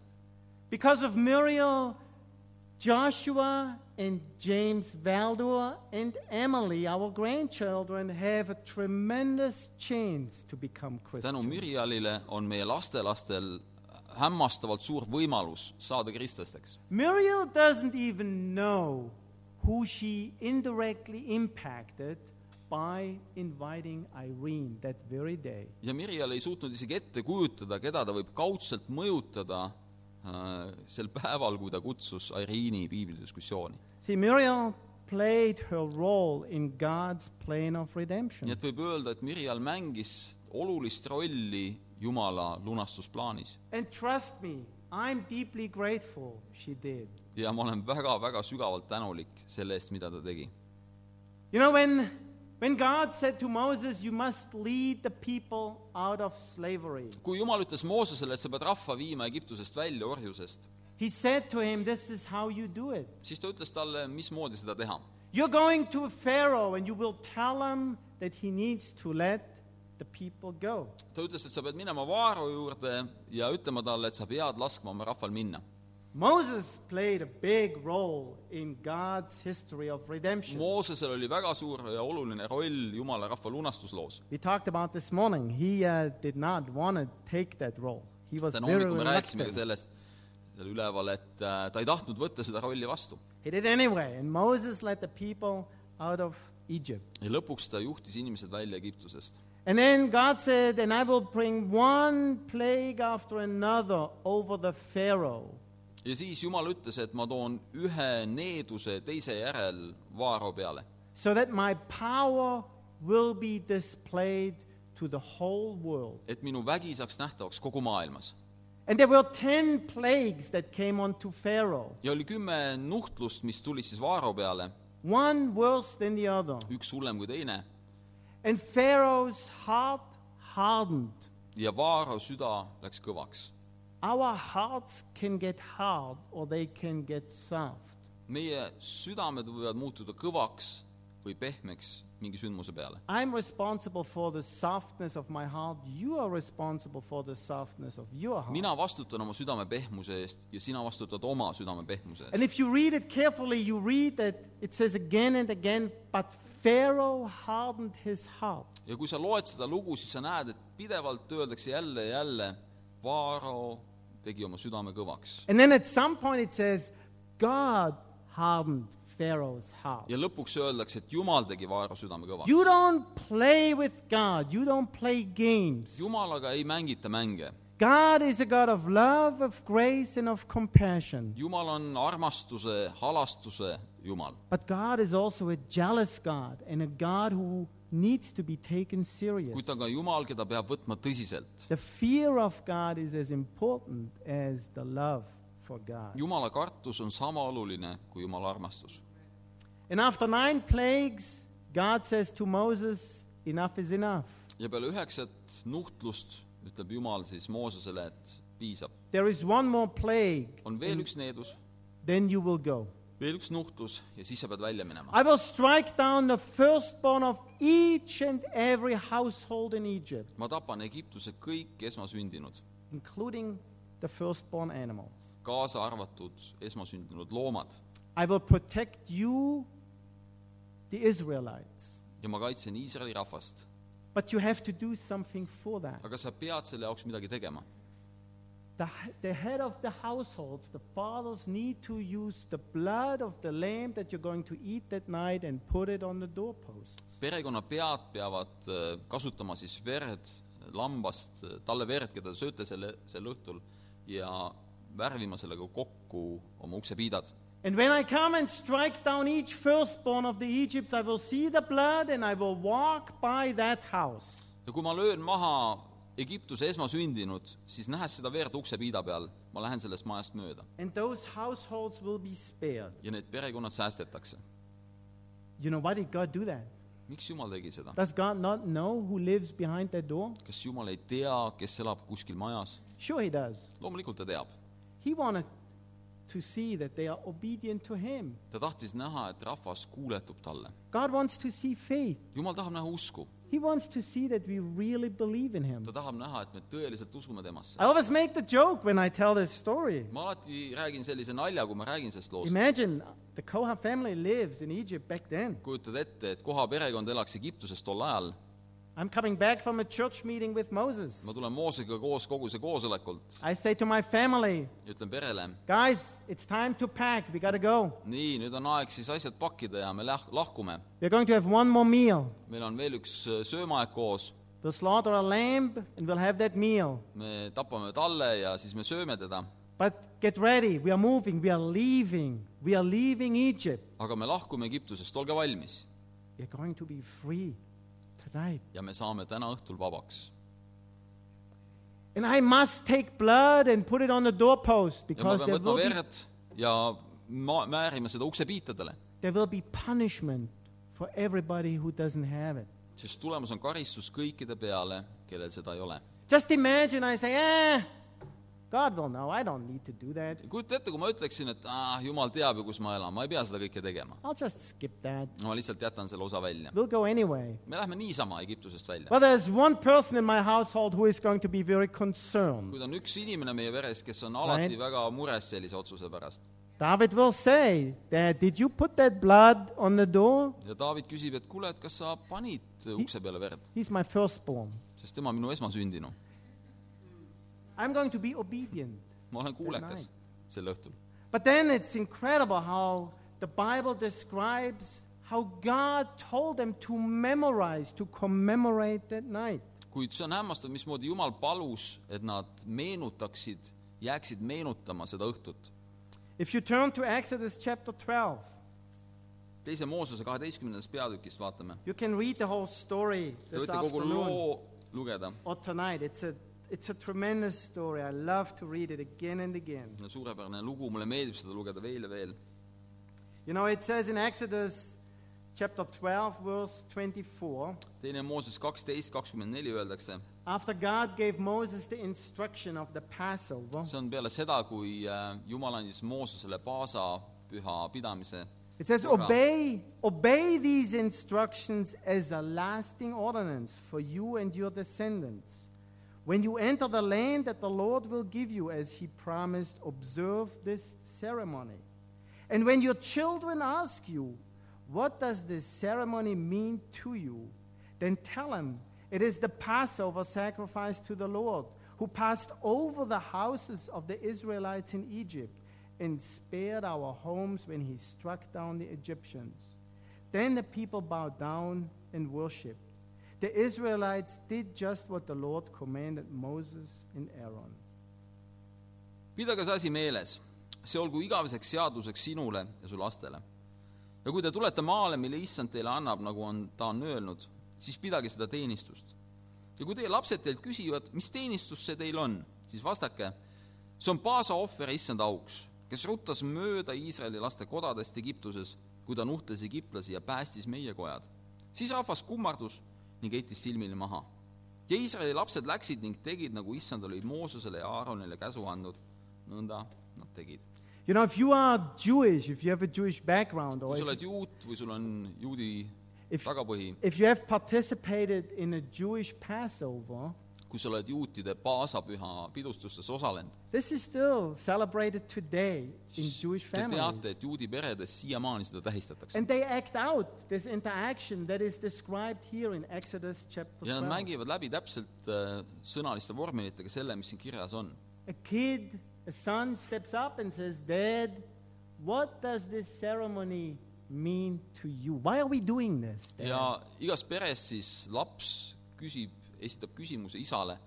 A: Because of Muriel, Joshua and James Valdor and Emily, our grandchildren, have a tremendous chance to become
B: tänu
A: Christians.
B: Mirjalile on meie lastelastel hämmastavalt suur võimalus saada kristlasteks .
A: Muriel doesn't even know who she indirectly impacted by inviting Irene that very day.
B: ja Mirjal ei suutnud isegi ette kujutada , keda ta võib kaudselt mõjutada äh, sel päeval , kui ta kutsus Irene piiblidiskussiooni .
A: See, Muriel played her role in God's plan of
B: nii
A: redemption.
B: et võib öelda , et Mirjal mängis olulist rolli Jumala lunastusplaanis .
A: And trust me, I'm deeply grateful she did.
B: ja ma olen väga-väga sügavalt tänulik selle eest , mida ta tegi .
A: You know, when, when God said to Moses, You must lead the people out of slavery,
B: kui Jumal ütles Moosesele , et sa pead rahva viima Egiptusest välja orjusest ,
A: he said to him, This is how you do it.
B: siis ta ütles talle , mismoodi seda teha .
A: You're going to a Pharaoh and you will tell him that he needs to let the people go.
B: ta ütles , et sa pead minema Vaaro juurde ja ütlema talle , et sa pead laskma oma rahval minna .
A: Moses played a big role in God's history of redemption.
B: Moosesel oli väga suur ja oluline roll Jumala rahva lunastusloos .
A: We talked about this morning. He uh, did not want to take that role. He was
B: täna
A: very
B: hommikul me rääkisime ka
A: reluctant.
B: sellest , seal üleval , et äh, ta ei tahtnud võtta seda rolli vastu .
A: He did anyway, and Moses led the people out of Egypt.
B: ja lõpuks ta juhtis inimesed välja Egiptusest .
A: And then God said, And I will bring one plague after another over the Pharaoh.
B: ja siis Jumal ütles , et ma toon ühe needuse teise järel Vaaro peale
A: so that my power will be displayed to the whole world.
B: et minu vägi saaks nähtavaks kogu maailmas .
A: And there were ten plagues that came onto Pharaoh,
B: ja oli kümme nuhtlust , mis tulid siis Vaaro peale ,
A: one worse than the other.
B: üks hullem kui teine ,
A: And Pharaoh's heart hardened.
B: ja Vaaro süda läks kõvaks .
A: Our hearts can get hard or they can get soft.
B: meie südamed võivad muutuda kõvaks või pehmeks mingi sündmuse peale .
A: I'm responsible for the softness of my heart. You are responsible for the softness of your heart.
B: mina vastutan oma südame pehmuse eest ja sina vastutad oma südame pehmuse eest .
A: And if you read it carefully, you read that it says again and again, but Pharaoh hardened his heart.
B: ja kui sa loed seda lugu , siis sa näed , et pidevalt öeldakse jälle ja jälle , Vaaro tegi oma südame kõvaks .
A: And then at some point it says, God hardened Pharaoh's heart.
B: ja lõpuks öeldakse , et Jumal tegi Vaaro südame kõvaks .
A: You don't play with God, you don't play games.
B: jumalaga ei mängita mänge
A: God is a God of love, of grace, and of compassion.
B: jumal on armastuse , halastuse jumal .
A: But God is also a jealous God and a God who needs to be taken serious.
B: kuid ta on ka jumal , keda peab võtma tõsiselt .
A: The fear of God is as important as the love for God.
B: jumala kartus on sama oluline kui jumala armastus .
A: And after nine plagues, God says to Moses, Enough is enough.
B: ja peale üheksat nuhtlust ütleb jumal siis Moosesele , et piisab .
A: There is one more plague,
B: on veel üks needus
A: then you will go.
B: veel üks nuhtlus ja siis sa pead välja minema .
A: I will strike down the firstborn of each and every household in Egypt,
B: ma tapan Egiptuse kõik esmasündinud ,
A: including the firstborn animals.
B: kaasa arvatud esmasündinud loomad
A: I will protect you, the Israelites.
B: ja ma kaitsen Iisraeli rahvast .
A: But you have to do something for that.
B: aga sa pead selle jaoks midagi tegema .
A: The, h- the head of the households, the fathers, need to use the blood of the lamb that you're going to eat that night and put it on the doorposts.
B: perekonnapead peavad äh, kasutama siis verd lambast , talle verd , keda te sööte selle , sel õhtul ja värvima sellega kokku oma uksepiidad .
A: And when I come and strike down each firstborn of the Egypts, I will see the blood and I will walk by that house.
B: ja kui ma löön maha Egiptuse esmasündinud , siis nähes seda verd uksepiida peal , ma lähen sellest majast mööda
A: And those households will be spared.
B: ja need perekonnad säästetakse .
A: You know, why did God do that?
B: miks Jumal tegi seda ?
A: Does God not know who lives behind that door?
B: kas Jumal ei tea , kes elab kuskil majas ?
A: Sure, He does.
B: loomulikult ta teab .
A: He wanted to see that they are obedient to Him.
B: ta tahtis näha , et rahvas kuuletub talle .
A: God wants to see faith.
B: Jumal tahab näha usku ,
A: He wants to see that we really believe in Him.
B: ta tahab näha , et me tõeliselt usume temasse
A: I always make the joke when I tell this story.
B: ma alati räägin sellise nalja , kui ma räägin sellest loost .
A: Imagine the Koha family lives in Egypt back then.
B: kujutad ette , et koha perekond elaks Egiptuses tol ajal ,
A: I'm coming back from a church meeting with Moses.
B: ma tulen Moosega koos kogu see koosolekult ,
A: I say to my family,
B: ütlen perele ,
A: guys, it's time to pack. We got to go.
B: nii , nüüd on aeg siis asjad pakkida ja me läh- , lahkume .
A: We're going to have one more meal.
B: meil on veel üks äh, söömaaeg koos ,
A: We'll slaughter a lamb and we'll have that meal.
B: me tapame talle ja siis me sööme teda ,
A: But get ready. We are moving. We are leaving. We are leaving Egypt.
B: aga me lahkume Egiptusest , olge valmis .
A: You're going to be free tonight.
B: ja me saame täna õhtul vabaks .
A: And I must take blood and put it on the doorpost
B: ja ma
A: because
B: pean
A: there
B: võtma
A: will, be,
B: verd ja ma- , määrima seda uksepiitadele ,
A: there will be punishment for everybody who doesn't have it.
B: sest tulemus on karistus kõikide peale , kellel seda ei ole
A: Just imagine I say, ah, God will know. I don't need to do that.
B: kujuta ette , kui ma ütleksin , et ah, jumal teab ju , kus ma elan , ma ei pea seda kõike tegema .
A: I'll just skip that.
B: ma lihtsalt jätan selle osa välja .
A: We'll go anyway.
B: me lähme niisama Egiptusest välja .
A: Well, there's one person in my household who is going to be very concerned.
B: kuid on üks inimene meie veres , kes on alati
A: Right.
B: väga mures sellise otsuse pärast .
A: David will say, Dad, did you put that blood on the door?
B: ja David küsib , et kuule , et kas sa panid ukse peale verd ,
A: He's my firstborn.
B: sest tema on minu esmasündinu .
A: I'm going to be obedient.
B: ma olen kuulekas sel õhtul .
A: But then it's incredible how the Bible describes how God told them to memorize, to commemorate that night.
B: kuid see on hämmastav , mismoodi Jumal palus , et nad meenutaksid , jääksid meenutama seda õhtut .
A: If you turn to Exodus chapter 12,
B: teise Moosuse kaheteistkümnendast peatükist vaatame .
A: you can read the whole story
B: Te
A: this
B: võite kogu
A: afternoon
B: loo lugeda
A: or tonight. It's a, it's a tremendous story. I love to read it again and again.
B: No suurepärane lugu , mulle meeldib seda lugeda veel ja veel .
A: You know, it says in Exodus chapter 12, verse 24.
B: teine Mooses kaksteist , kakskümmend neli öeldakse ,
A: After God gave Moses the instruction of the Passover,
B: see on peale seda , kui äh, Jumal andis Moosesele paasa püha pidamise .
A: it says, Obey, obey these instructions as a lasting ordinance for you and your descendants. When you enter the land that the Lord will give you, as he promised, observe this ceremony. And when your children ask you, What does this ceremony mean to you? Then tell him, It is the Passover sacrifice to the Lord, who passed over the houses of the Israelites in Egypt and spared our homes when he struck down the Egyptians. Then the people bowed down and worshiped. The Israelites did just what the Lord commanded Moses and Aaron.
B: pidage see asi meeles , see olgu igaveseks seaduseks sinule ja su lastele . ja kui te tulete maale , mille issand teile annab , nagu on , ta on öelnud , siis pidage seda teenistust . ja kui teie lapsed teilt küsivad , mis teenistus see teil on , siis vastake , see on paasa ohver issand auks , kes ruttas mööda Iisraeli laste kodadest Egiptuses , kui ta nuhtles egiptlasi ja päästis meie kojad . siis rahvas kummardus ning heitis silmili maha . ja Iisraeli lapsed läksid ning tegid , nagu issand oli Moosusele ja Aaronile käsu andnud , nõnda nad tegid .
A: You know, if you are Jewish, if you have a Jewish background, or
B: kui sa
A: if,
B: oled juut või sul on juudi
A: if,
B: tagapõhi ,
A: if you have participated in a Jewish Passover,
B: kui sa oled juutide paasapüha pidustustes osalenud ,
A: this is still celebrated today in Jewish
B: te teate ,
A: families.
B: et juudi peredes siiamaani seda tähistatakse .
A: And they act out this interaction that is described here in Exodus chapter
B: ja nad
A: 12.
B: mängivad läbi täpselt äh, sõnaliste vormelitega selle , mis siin kirjas on .
A: A kid, a son steps up and says, Dad, what does this ceremony mean to you? Why are we doing this? Dad?"
B: ja igas peres siis laps küsib , esitab küsimuse isale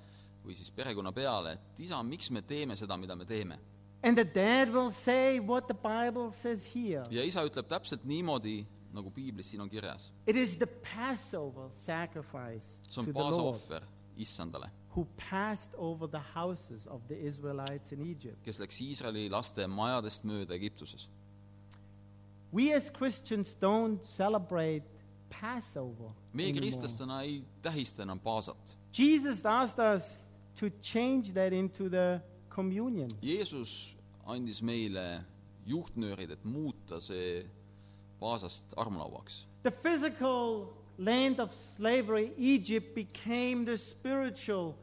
B: või siis perekonna peale , et isa , miks me teeme seda , mida me teeme ?
A: And the dad will say what the Bible says here.
B: ja isa ütleb täpselt niimoodi , nagu piiblis siin on kirjas .
A: It is the Passover sacrifice
B: see
A: to
B: on
A: the Lord
B: paasaohver issandale ,
A: who passed over the houses of the Israelites in Egypt.
B: kes läks Iisraeli laste majadest mööda Egiptuses .
A: We as Christians don't celebrate Passover.
B: meie
A: anymore.
B: kristlastena ei tähista enam paasat .
A: Jesus asked us to change that into the communion.
B: Jeesus andis meile juhtnöörid , et muuta see paasast armlauaks .
A: The physical land of slavery, Egypt, became the spiritual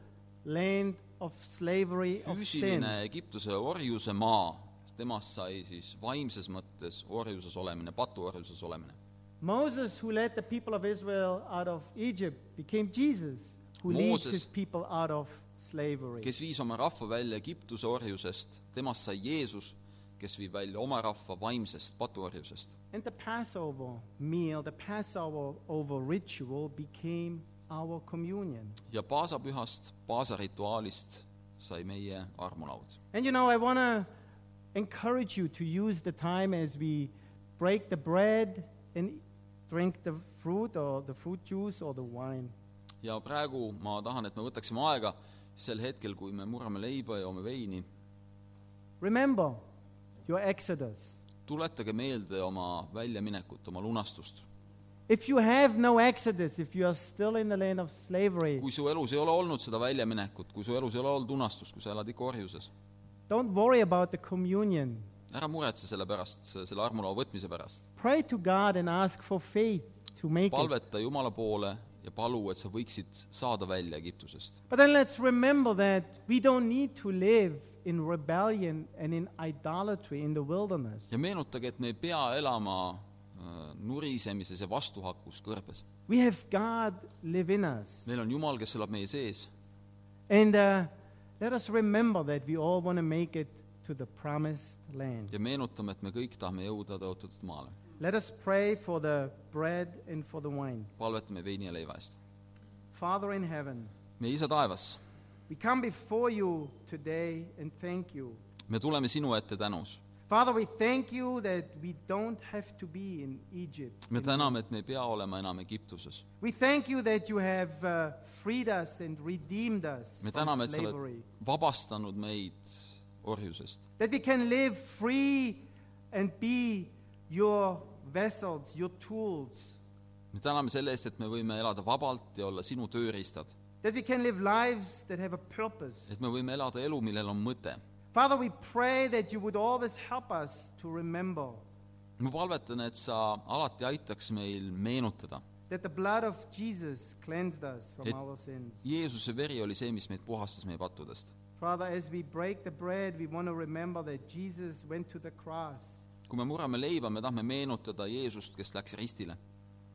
A: land of slavery of sin.
B: füüsiline Egiptuse orjuse maa , temast sai siis vaimses mõttes orjuses olemine , patuorjuses olemine .
A: Moses, who led the people of Israel out of Egypt, became Jesus, who leads
B: Moses.
A: his people out of slavery.
B: kes viis oma rahva välja Egiptuse orjusest , temast sai Jeesus , kes viib välja oma rahva vaimsest patuorjusest .
A: And the Passover meal, the Passover over ritual became our communion.
B: ja paasapühast , paasarituaalist sai meie armulaud .
A: And you know, I want to encourage you to use the time as we break the bread and drink the fruit or the fruit juice or the wine.
B: ja praegu ma tahan , et me võtaksime aega sel hetkel , kui me murrame leiba ja joome veini ,
A: Remember your Exodus.
B: tuletage meelde oma väljaminekut , oma lunastust .
A: If you have no Exodus, if you are still in the land of slavery,
B: kui su elus ei ole olnud seda väljaminekut , kui su elus ei ole olnud unastust , kui sa elad ikka orjuses ,
A: don't worry about the communion.
B: ära muretse selle pärast , selle armulaua võtmise pärast .
A: Pray to God and ask for faith to make it.
B: palveta Jumala poole ja palu , et sa võiksid saada välja Egiptusest .
A: But then let's remember that we don't need to live in rebellion and in idolatry in the wilderness.
B: ja meenutage , et me ei pea elama äh, nurisemises ja vastuhakus kõrbes .
A: We have God live in us.
B: meil on Jumal , kes elab meie sees
A: And uh, let us remember that we all want to make it to the promised land.
B: ja meenutame , et me kõik tahame jõuda tõotatud maale .
A: Let us pray for the bread and for the wine.
B: palvetame veini ja leiva eest .
A: Father in heaven,
B: meie isa taevas ,
A: we come before you today and thank you.
B: me tuleme sinu ette tänus .
A: Father, we thank you that we don't have to be in Egypt.
B: me täname , et me ei pea olema enam Egiptuses .
A: We thank you that you have uh, freed us and redeemed us
B: me
A: from
B: täname , et sa
A: slavery.
B: oled vabastanud meid orjusest .
A: That we can live free and be your vessels, your tools.
B: me täname selle eest , et me võime elada vabalt ja olla sinu tööriistad .
A: That we can live lives that have a purpose.
B: et me võime elada elu , millel on mõte .
A: Father, we pray that you would always help us to remember
B: ma palvetan , et sa alati aitaks meil meenutada .
A: that the blood of Jesus cleansed us from
B: It-
A: our sins.
B: Jeesuse veri oli see , mis meid puhastas meie pattudest .
A: Father, as we break the bread, we want to remember that Jesus went to the cross
B: kui me murrame leiba , me tahame meenutada Jeesust , kes läks ristile .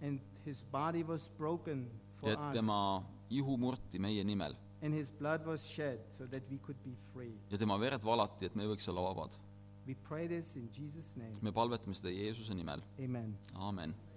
A: and his body was broken for
B: et
A: us.
B: tema ihu murti meie nimel
A: and his blood was shed so that we could be free.
B: ja tema verd valati , et me võiks olla vabad .
A: We pray this in Jesus' name.
B: me palvetame seda Jeesuse nimel ,
A: Amen.
B: aamen